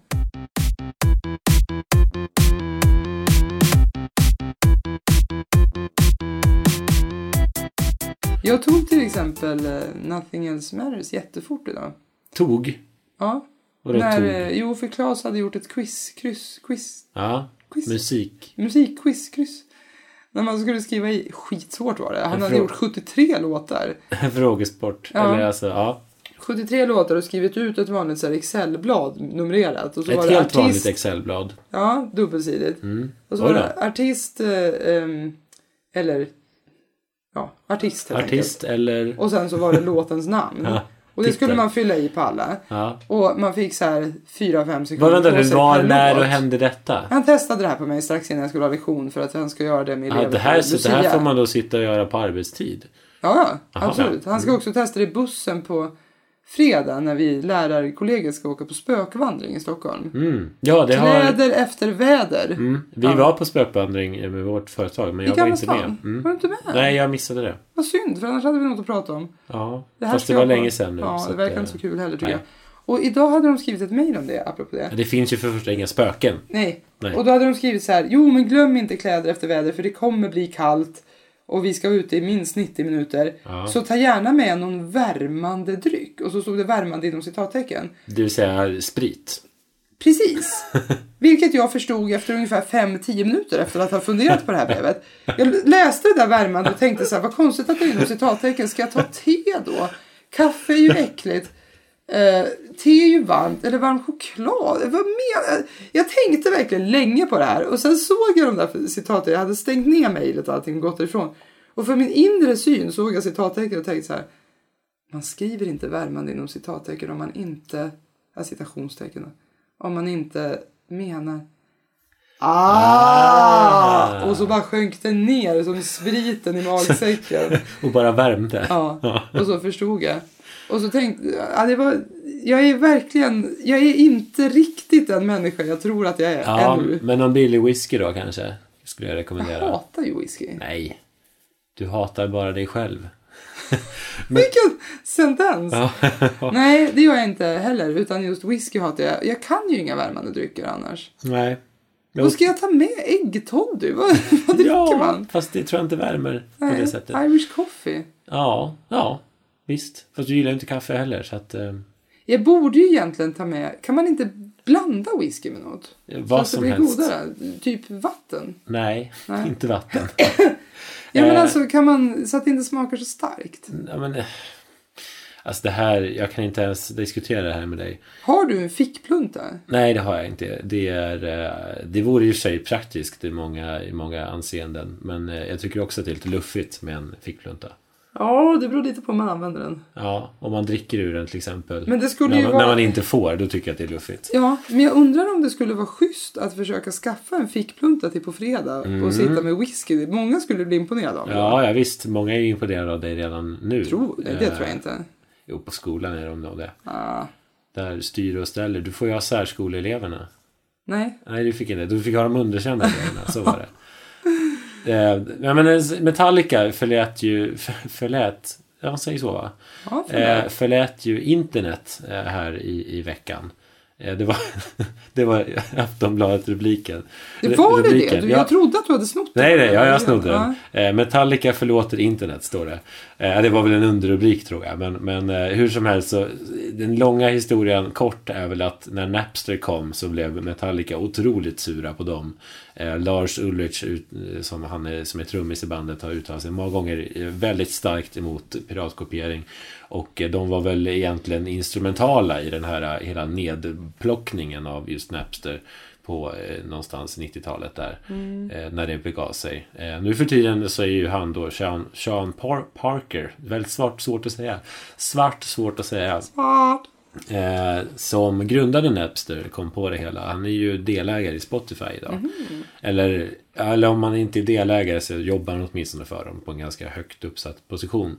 [SPEAKER 3] Jag tog till exempel eh, Nothing Else Matters jättefort idag.
[SPEAKER 2] Tog.
[SPEAKER 3] Ja.
[SPEAKER 2] Och det
[SPEAKER 3] När,
[SPEAKER 2] tog.
[SPEAKER 3] eh, jo, för Claes hade gjort ett quiz, kryss, quiz,
[SPEAKER 2] Ja,
[SPEAKER 3] quiz,
[SPEAKER 2] musik. [laughs]
[SPEAKER 3] musikquiz, kryss. När man skulle skriva i, skitsvårt var det. Han
[SPEAKER 2] En
[SPEAKER 3] hade
[SPEAKER 2] fråga.
[SPEAKER 3] gjort 73 låtar.
[SPEAKER 2] Frågesport.
[SPEAKER 3] Ja.
[SPEAKER 2] Eller alltså, ja.
[SPEAKER 3] 73 låtar och skrivit ut ett vanligt så här Excel-blad numrerat. Och så var
[SPEAKER 2] Ett
[SPEAKER 3] det
[SPEAKER 2] helt vanligt
[SPEAKER 3] artist,
[SPEAKER 2] Excelblad.
[SPEAKER 3] Ja, dubbelsidigt.
[SPEAKER 2] Mm.
[SPEAKER 3] Och så
[SPEAKER 2] Oj
[SPEAKER 3] var
[SPEAKER 2] då.
[SPEAKER 3] det artist, eh, ehm, eller ja, artist helt enkelt.
[SPEAKER 2] Artist eller...
[SPEAKER 3] Och sen så var det låtens namn.
[SPEAKER 2] [laughs] Ja,
[SPEAKER 3] och det
[SPEAKER 2] titel.
[SPEAKER 3] skulle man fylla i på alla.
[SPEAKER 2] Ja.
[SPEAKER 3] Och man fick så här 4-5 sekunder
[SPEAKER 2] Vad vänta
[SPEAKER 3] på
[SPEAKER 2] nu,
[SPEAKER 3] sig
[SPEAKER 2] var,
[SPEAKER 3] per
[SPEAKER 2] när och
[SPEAKER 3] låt.
[SPEAKER 2] hände detta?
[SPEAKER 3] Han testade det här på mig strax innan jag skulle ha lektion för att han ska göra det med
[SPEAKER 2] Ja,
[SPEAKER 3] elever
[SPEAKER 2] det,
[SPEAKER 3] på
[SPEAKER 2] här, så, det här
[SPEAKER 3] Lucia.
[SPEAKER 2] får man då sitta och göra på arbetstid.
[SPEAKER 3] Ja, ja,
[SPEAKER 2] Aha,
[SPEAKER 3] absolut. Han
[SPEAKER 2] Mm.
[SPEAKER 3] ska också testa det i bussen på fredag när vi lärarkollegiet ska åka på spökvandring i Stockholm.
[SPEAKER 2] Mm. Ja, det har...
[SPEAKER 3] Kläder efter väder.
[SPEAKER 2] Mm. Vi
[SPEAKER 3] Ja.
[SPEAKER 2] var på spökvandring med vårt företag, men jag var
[SPEAKER 3] gamla
[SPEAKER 2] inte med.
[SPEAKER 3] stan.
[SPEAKER 2] Mm.
[SPEAKER 3] Var du inte med?
[SPEAKER 2] Nej, jag missade det.
[SPEAKER 3] Vad synd, för annars hade vi något att prata om.
[SPEAKER 2] Ja,
[SPEAKER 3] Det
[SPEAKER 2] fast
[SPEAKER 3] ska
[SPEAKER 2] det var
[SPEAKER 3] jag ha.
[SPEAKER 2] länge sedan nu.
[SPEAKER 3] Ja,
[SPEAKER 2] så
[SPEAKER 3] det
[SPEAKER 2] att,
[SPEAKER 3] verkar
[SPEAKER 2] eh,
[SPEAKER 3] inte så kul heller tycker
[SPEAKER 2] nej.
[SPEAKER 3] jag. Och idag hade de skrivit ett mejl om det, apropå det.
[SPEAKER 2] Det finns ju för det första inga spöken.
[SPEAKER 3] Nej.
[SPEAKER 2] Nej.
[SPEAKER 3] Och då hade de skrivit så här. Jo, men glöm inte kläder efter väder för det kommer bli kallt. Och vi ska vara ute i minst 90 minuter.
[SPEAKER 2] Ja.
[SPEAKER 3] Så ta gärna med någon värmande dryck. Och så stod det värmande inom citattecken.
[SPEAKER 2] Det vill säga sprit.
[SPEAKER 3] Precis. Vilket jag förstod efter ungefär 5-10 minuter efter att ha funderat på det här brevet. Jag läste det där värmande och tänkte så här, vad konstigt att det är inom citattecken. Ska jag ta te då? Kaffe är ju äckligt. Eh, te är ju varmt, eller varm choklad. Vad menar Jag tänkte verkligen länge på det här och sen såg jag de där citaten. Jag hade stängt ner mejlet och allting och gått ifrån. Och för min inre syn såg jag citattecken och tänkte så här. Man skriver inte värmande inom citattecken om man inte, ja, citationstecken då, om man inte menar. Ah!
[SPEAKER 2] Ah.
[SPEAKER 3] Och så bara sjönk det ner som spriten i magsäcken.
[SPEAKER 2] [laughs] Och bara värmde.
[SPEAKER 3] Ja, och så förstod jag. Och så tänkte ja, det var, jag är verkligen, jag är inte riktigt den människa jag tror att jag är
[SPEAKER 2] Ja,
[SPEAKER 3] ännu.
[SPEAKER 2] men någon billig whisky då kanske? Skulle jag
[SPEAKER 3] Jag
[SPEAKER 2] rekommendera.
[SPEAKER 3] hatar ju whisky.
[SPEAKER 2] Nej. Du hatar bara dig själv.
[SPEAKER 3] Vilken sentens!
[SPEAKER 2] Ja.
[SPEAKER 3] Nej, det gör jag inte heller, utan just whisky hatar jag. Jag kan ju inga värmande drycker annars.
[SPEAKER 2] [laughs] Nej. Jo.
[SPEAKER 3] Vad ska jag ta med? Äggtoddy? Vad, vad dricker man?
[SPEAKER 2] fast det tror jag inte värmer på
[SPEAKER 3] Nej,
[SPEAKER 2] det sättet.
[SPEAKER 3] Irish coffee.
[SPEAKER 2] Ja, ja. Visst. Fast du gillar ju inte kaffe heller så att... Eh,
[SPEAKER 3] Jag borde ju egentligen ta med... Kan man inte blanda whisky med något?
[SPEAKER 2] vad
[SPEAKER 3] så att
[SPEAKER 2] som
[SPEAKER 3] det blir
[SPEAKER 2] helst.
[SPEAKER 3] godare? Typ vatten?
[SPEAKER 2] Nej,
[SPEAKER 3] Nej.
[SPEAKER 2] inte vatten.
[SPEAKER 3] Ja, men
[SPEAKER 2] Eh.
[SPEAKER 3] alltså kan man... Så att det inte smakar så starkt.
[SPEAKER 2] ja, men, eh, alltså det här, jag kan inte ens diskutera det här med dig.
[SPEAKER 3] Har du en fickplunta?
[SPEAKER 2] Nej, det har jag inte. Det, är, eh, det vore i och för sig praktiskt i många, i många anseenden. Men eh, jag tycker också att det är lite luffigt med en fickplunta.
[SPEAKER 3] Ja, det beror lite på hur man använder den.
[SPEAKER 2] Ja, om man dricker ur den till exempel.
[SPEAKER 3] Men det skulle
[SPEAKER 2] när,
[SPEAKER 3] ju
[SPEAKER 2] man,
[SPEAKER 3] vara-
[SPEAKER 2] när man inte får, då tycker jag att det är luffigt.
[SPEAKER 3] Ja, men jag undrar om det skulle vara schysst att försöka skaffa en fickplunta till på fredag och sitta med whisky. Många skulle bli imponerade av det.
[SPEAKER 2] Mm. Ja, ja visst. Många är ju imponerade av dig redan nu.
[SPEAKER 3] Tror, nej, det
[SPEAKER 2] Eh,
[SPEAKER 3] tror jag inte.
[SPEAKER 2] Jo, på skolan är de nog det.
[SPEAKER 3] Ah,
[SPEAKER 2] Där styr och ställer. Du får ju ha särskoleeleverna.
[SPEAKER 3] nej.
[SPEAKER 2] Nej, du fick inte. Du fick ha de underkända eleverna. Så var det. [laughs] Eh, ja, men eh, Metallica förlät ju... för- Förlät... Ja, man säger så va?
[SPEAKER 3] Ja, för
[SPEAKER 2] Eh, förlät ju internet eh, här i, i veckan. Eh, det var, [laughs] det var Aftonbladet-rubriken.
[SPEAKER 3] det var det det?
[SPEAKER 2] Rubriken.
[SPEAKER 3] Du,
[SPEAKER 2] Ja.
[SPEAKER 3] jag trodde att du hade snott den.
[SPEAKER 2] Nej, nej, ja, jag snodde
[SPEAKER 3] Ja.
[SPEAKER 2] den. Eh, Metallica förlåter internet, står det. Eh, det var väl en underrubrik, tror jag. Men, men eh, hur som helst, så, den långa historien kort är väl att när Napster kom så blev Metallica otroligt sura på dem. Eh, Lars Ulrich, ut, eh, som, han är, som är trummis i bandet, har uttalat sig många gånger eh, väldigt starkt emot piratkopiering. Och eh, de var väl egentligen instrumentala i den här eh, hela nedplockningen av just Napster på eh, någonstans 90-talet där. Eh, när det begav sig. Eh, nu för tiden så är ju han då Sean, Sean Par- Parker, väldigt svart svårt att säga. Svart svårt att säga.
[SPEAKER 3] Ja.
[SPEAKER 2] Eh, som grundade Napster, kom på det hela. Han är ju delägare i Spotify idag. Eller, eller om han inte är delägare så jobbar han åtminstone för dem på en ganska högt uppsatt position.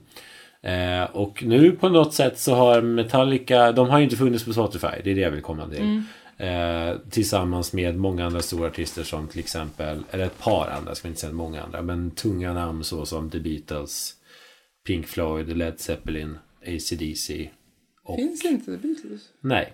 [SPEAKER 2] Eh, och nu på något sätt så har Metallica, de har ju inte funnits på Spotify, det är det jag vill komma till. Eh, tillsammans med många andra stora artister som till exempel, eller ett par andra, ska inte säga många andra, men tunga namn så som The Beatles, Pink Floyd, Led Zeppelin, AC/DC och
[SPEAKER 3] Finns inte The Beatles?
[SPEAKER 2] Nej,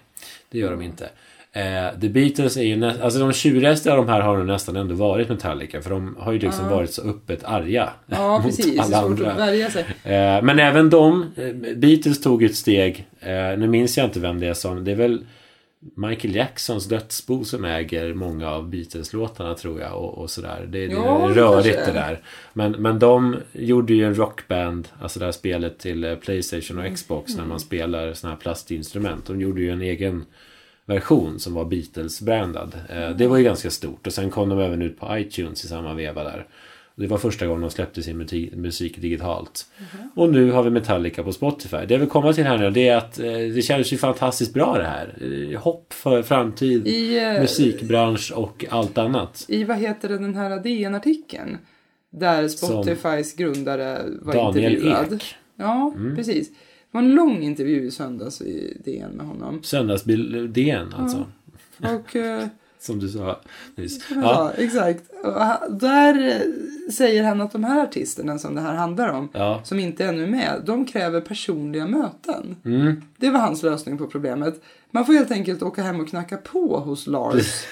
[SPEAKER 2] det gör de inte. Eh, The Beatles är ju nästan, alltså de tjurigaste av de här har nog nästan ändå varit Metallica för de har ju liksom varit så öppet arga [laughs]
[SPEAKER 3] Ja, precis. Det är
[SPEAKER 2] alla
[SPEAKER 3] svårt
[SPEAKER 2] andra.
[SPEAKER 3] att värja sig.
[SPEAKER 2] Eh, men även de, eh, Beatles tog ett steg, eh, nu minns jag inte vem det är som, det är väl Michael Jacksons dödsbo som äger många av Beatles-låtarna tror jag och, och sådär. Det, det
[SPEAKER 3] Ja,
[SPEAKER 2] är
[SPEAKER 3] det
[SPEAKER 2] rörigt
[SPEAKER 3] kanske
[SPEAKER 2] det
[SPEAKER 3] är.
[SPEAKER 2] där. Men, men de gjorde ju en rockband, alltså det här spelet till eh, Playstation
[SPEAKER 3] Mm.
[SPEAKER 2] och Xbox när man spelar sådana här plastinstrument. De gjorde ju en egen version som var Beatles-brandad. Eh, Det var ju ganska stort och sen kom de även ut på iTunes i samma veva där. Det var första gången de släppte sin muti- musik digitalt. Och nu har vi Metallica på Spotify. Det jag vill komma till här nu det är att eh, det känns ju fantastiskt bra det här. Eh, Hopp för framtid,
[SPEAKER 3] I, eh,
[SPEAKER 2] musikbransch och allt annat.
[SPEAKER 3] I vad heter det, den här DN-artikeln? Där Spotifys grundare var
[SPEAKER 2] Daniel
[SPEAKER 3] intervjuad.
[SPEAKER 2] Ek. Mm.
[SPEAKER 3] Ja, precis. Det var en lång intervju i söndags i DN med honom.
[SPEAKER 2] Söndagsbil-DN alltså.
[SPEAKER 3] Och, eh,
[SPEAKER 2] Som du sa nyss. [laughs]
[SPEAKER 3] ja.
[SPEAKER 2] Ja,
[SPEAKER 3] exakt. Och han- där eh, säger han att de här artisterna som det här handlar om,
[SPEAKER 2] ja.
[SPEAKER 3] som inte ännu är med, de kräver personliga möten.
[SPEAKER 2] Mm.
[SPEAKER 3] Det var hans lösning på problemet. Man får helt enkelt åka hem och knacka på
[SPEAKER 2] [laughs]
[SPEAKER 3] hos Lars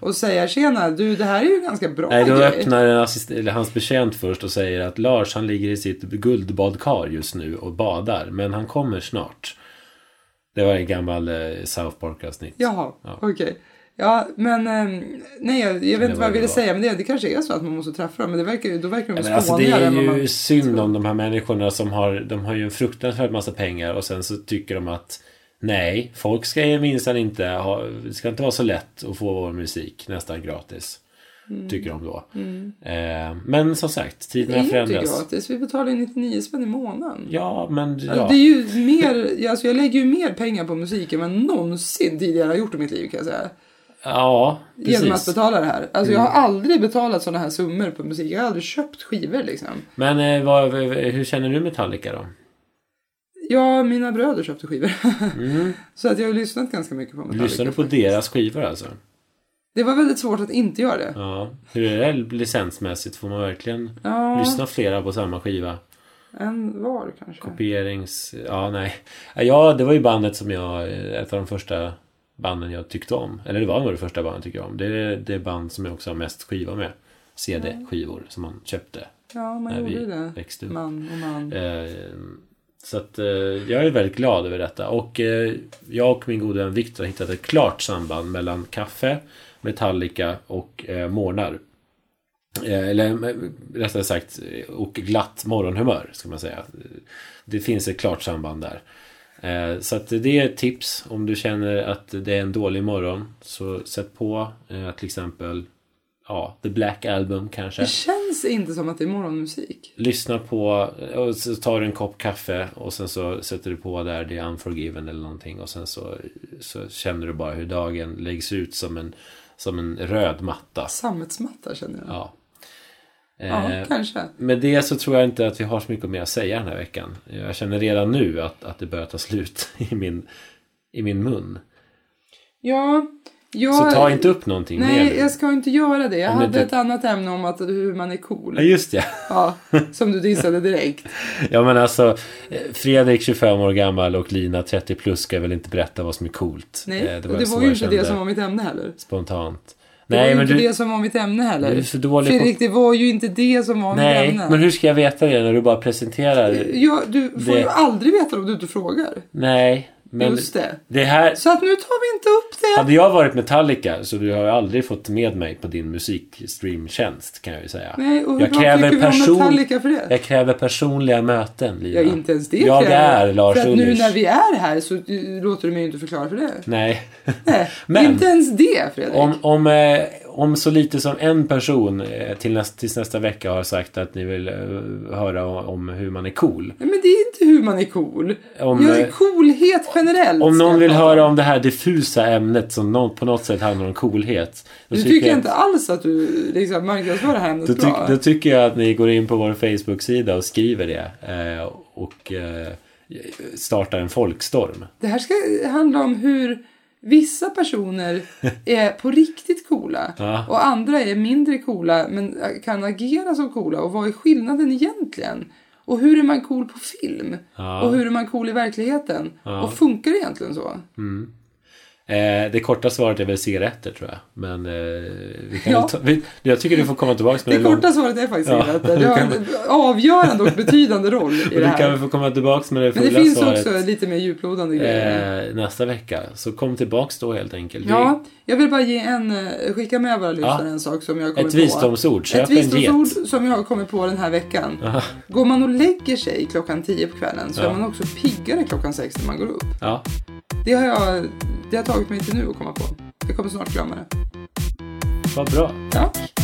[SPEAKER 3] och säga tjena, du det här är ju ganska bra
[SPEAKER 2] Nej, då
[SPEAKER 3] grej."
[SPEAKER 2] öppnar en assist- eller hans betjänt först och säger att Lars han ligger i sitt guldbadkar just nu och badar, men han kommer snart. Det var en gammal eh, South Park-avsnitt.
[SPEAKER 3] Jaha,
[SPEAKER 2] Ja.
[SPEAKER 3] okej. Ja, men ehm, nej, jag, jag vet inte vad jag
[SPEAKER 2] det
[SPEAKER 3] ville
[SPEAKER 2] var.
[SPEAKER 3] säga, men det, det kanske är så att man måste träffa dem, men det verkar, ju- då verkar de
[SPEAKER 2] Men
[SPEAKER 3] skånigare
[SPEAKER 2] alltså det är
[SPEAKER 3] än vad
[SPEAKER 2] ju
[SPEAKER 3] man...
[SPEAKER 2] synd om de här människorna som har, de har ju en fruktansvärd massa pengar och sen så tycker de att nej, folk ska ju minsann inte ha, det ska inte vara så lätt att få vår musik nästan gratis. Tycker de då. Eh, men som sagt,
[SPEAKER 3] Mm.
[SPEAKER 2] tiderna
[SPEAKER 3] Det är ju inte
[SPEAKER 2] förändras.
[SPEAKER 3] gratis, vi betalar ju 99 spänn i månaden.
[SPEAKER 2] Ja, men ja.
[SPEAKER 3] Alltså, det är ju mer, alltså jag lägger ju mer pengar på musik än vad jag någonsin tidigare har gjort i mitt liv kan jag säga.
[SPEAKER 2] ja,
[SPEAKER 3] Genom att
[SPEAKER 2] precis. Mm.
[SPEAKER 3] betala det här. Alltså jag har aldrig betalat sådana här summor på musik. Jag har aldrig köpt skivor liksom.
[SPEAKER 2] Men eh, vad, hur känner du Metallica då?
[SPEAKER 3] Ja, mina bröder köpte skivor. [laughs] så att jag har lyssnat ganska mycket på Metallica.
[SPEAKER 2] Mm. Lyssnar du på deras skivor alltså?
[SPEAKER 3] Det var väldigt svårt att inte göra det.
[SPEAKER 2] Ja. Hur är det licensmässigt? Får man verkligen
[SPEAKER 3] Ja,
[SPEAKER 2] lyssna flera på samma skiva?
[SPEAKER 3] en var kanske.
[SPEAKER 2] Kopierings... Ja, nej. Eh, Ja, det var ju bandet som jag... eh, Ett av de första banden jag tyckte om. Eller det var nog det första bandet jag tyckte om. Det är det band som jag också har mest skiva med. CD-skivor som man köpte
[SPEAKER 3] Ja, man
[SPEAKER 2] när
[SPEAKER 3] gjorde
[SPEAKER 2] vi
[SPEAKER 3] ju det.
[SPEAKER 2] växte upp.
[SPEAKER 3] Man och man.
[SPEAKER 2] Eh, Så att eh, jag är väldigt glad över detta. Och eh, jag och min gode vän Viktor har hittat ett klart samband mellan kaffe, Metallica och eh, morgnar. Eh, Eller eh, rättare sagt, eh, och glatt morgonhumör ska man säga. Det finns ett klart samband där. Eh, Så att det är ett tips om du känner att det är en dålig morgon. Så sätt på eh, till exempel ja, The Black Album kanske
[SPEAKER 3] Det känns inte som att det är morgonmusik.
[SPEAKER 2] lyssna på och så tar du en kopp kaffe och sen så sätter du på där det är unforgiven eller någonting och sen så, så känner du bara hur dagen läggs ut som en, som en röd matta.
[SPEAKER 3] Sammetsmatta känner jag.
[SPEAKER 2] Ja.
[SPEAKER 3] Ja,
[SPEAKER 2] Eh,
[SPEAKER 3] kanske.
[SPEAKER 2] med det så tror jag inte att vi har så mycket mer att säga den här veckan. Jag känner redan nu att, att det börjar ta slut [laughs] i min, i min mun.
[SPEAKER 3] Ja, jag...
[SPEAKER 2] Så ta inte upp någonting mer.
[SPEAKER 3] Nej,
[SPEAKER 2] nu.
[SPEAKER 3] jag ska inte göra det. Jag
[SPEAKER 2] Om du
[SPEAKER 3] hade
[SPEAKER 2] inte-
[SPEAKER 3] ett annat ämne om att hur man är cool.
[SPEAKER 2] Ja, just det.
[SPEAKER 3] Ja, som du dissade direkt.
[SPEAKER 2] Ja men alltså eh, Fredrik 25 år gammal och Lina 30 plus ska väl inte berätta vad som är coolt.
[SPEAKER 3] Nej,
[SPEAKER 2] Eh,
[SPEAKER 3] och
[SPEAKER 2] var
[SPEAKER 3] det
[SPEAKER 2] så
[SPEAKER 3] var ju
[SPEAKER 2] jag
[SPEAKER 3] inte det
[SPEAKER 2] kände
[SPEAKER 3] som var mitt ämne heller.
[SPEAKER 2] Spontant.
[SPEAKER 3] Det var
[SPEAKER 2] Nej
[SPEAKER 3] ju
[SPEAKER 2] men
[SPEAKER 3] inte
[SPEAKER 2] du,
[SPEAKER 3] det som var mitt ämne heller.
[SPEAKER 2] du är för dålig på...
[SPEAKER 3] Fredrik, det var ju inte det som var Eh,
[SPEAKER 2] Nej,
[SPEAKER 3] mitt ämne.
[SPEAKER 2] men hur ska jag veta det när du bara presenterar?
[SPEAKER 3] Ja, du får
[SPEAKER 2] Det-
[SPEAKER 3] ju aldrig veta om du inte frågar.
[SPEAKER 2] Nej, men
[SPEAKER 3] Just det.
[SPEAKER 2] det här...
[SPEAKER 3] Så att nu tar vi inte upp det.
[SPEAKER 2] Hade jag varit Metallica så du har ju aldrig fått med mig på din musikstreamtjänst kan jag ju säga.
[SPEAKER 3] Nej, och hur
[SPEAKER 2] jag
[SPEAKER 3] bra
[SPEAKER 2] kräver
[SPEAKER 3] tycker vi om
[SPEAKER 2] person...
[SPEAKER 3] Metallica för det?
[SPEAKER 2] Jag kräver personliga möten, Lina.
[SPEAKER 3] Ja, inte ens det
[SPEAKER 2] Ja, det
[SPEAKER 3] kräver
[SPEAKER 2] är
[SPEAKER 3] jag.
[SPEAKER 2] Lars
[SPEAKER 3] För att nu
[SPEAKER 2] Ulrich.
[SPEAKER 3] när vi är här så eh, låter du mig ju inte förklara för det.
[SPEAKER 2] Nej.
[SPEAKER 3] Nej,
[SPEAKER 2] Men-
[SPEAKER 3] inte ens det Fredrik.
[SPEAKER 2] Om, om, eh, om så lite som en person eh, till nästa, tills nästa vecka har sagt att ni vill eh, höra o- om hur man är cool.
[SPEAKER 3] Nej, Men det är inte hur man är cool.
[SPEAKER 2] Om,
[SPEAKER 3] jag
[SPEAKER 2] eh,
[SPEAKER 3] är coolhet generellt.
[SPEAKER 2] Om
[SPEAKER 3] ska jag
[SPEAKER 2] någon vill
[SPEAKER 3] prata
[SPEAKER 2] höra om det här diffusa ämnet som nå- på något sätt handlar om coolhet. Då
[SPEAKER 3] Du tycker inte alls att du liksom marknadsför det här ämnet
[SPEAKER 2] då, tyck,
[SPEAKER 3] bra?
[SPEAKER 2] då tycker jag att ni går in på vår Facebook-sida och skriver det. Eh, och eh, startar en folkstorm.
[SPEAKER 3] Det här ska handla om hur
[SPEAKER 2] [laughs]
[SPEAKER 3] vissa personer är på riktigt coola
[SPEAKER 2] Ja.
[SPEAKER 3] och andra är mindre coola men kan agera som coola och vad är skillnaden egentligen? Och hur är man cool på film?
[SPEAKER 2] Ja.
[SPEAKER 3] Och hur är man cool i verkligheten?
[SPEAKER 2] Ja.
[SPEAKER 3] Och funkar det egentligen så?
[SPEAKER 2] Eh, det korta svaret är väl cigaretter tror jag. Men eh, vi kan
[SPEAKER 3] Ja.
[SPEAKER 2] väl ta, vi, jag tycker du får komma tillbaka
[SPEAKER 3] Det
[SPEAKER 2] med lång-
[SPEAKER 3] korta svaret är faktiskt
[SPEAKER 2] Ja,
[SPEAKER 3] ja. det.
[SPEAKER 2] du
[SPEAKER 3] Det har
[SPEAKER 2] kan-
[SPEAKER 3] en avgörande och betydande roll i
[SPEAKER 2] [laughs] Och du
[SPEAKER 3] det
[SPEAKER 2] kan väl
[SPEAKER 3] här.
[SPEAKER 2] få komma tillbaks med det
[SPEAKER 3] Men det
[SPEAKER 2] fulla
[SPEAKER 3] finns
[SPEAKER 2] svaret
[SPEAKER 3] också lite mer djuplodande grejer.
[SPEAKER 2] eh, nästa vecka. Så kom tillbaks då helt enkelt. Det är
[SPEAKER 3] Ja, jag vill bara ge en, eh, skicka med våra lyssnare en sak som jag har kommit
[SPEAKER 2] Ett
[SPEAKER 3] på.
[SPEAKER 2] visdomsord. Köp
[SPEAKER 3] Ett
[SPEAKER 2] en get.
[SPEAKER 3] visdomsord som jag har kommit på den här veckan. Går man och lägger sig klockan 10 på kvällen så
[SPEAKER 2] Ja.
[SPEAKER 3] är man också piggare klockan 6 när man går upp.
[SPEAKER 2] Ja.
[SPEAKER 3] Det har, jag, det har tagit mig till nu att komma på. Jag kommer snart glömma det.
[SPEAKER 2] Vad bra.
[SPEAKER 3] Tack!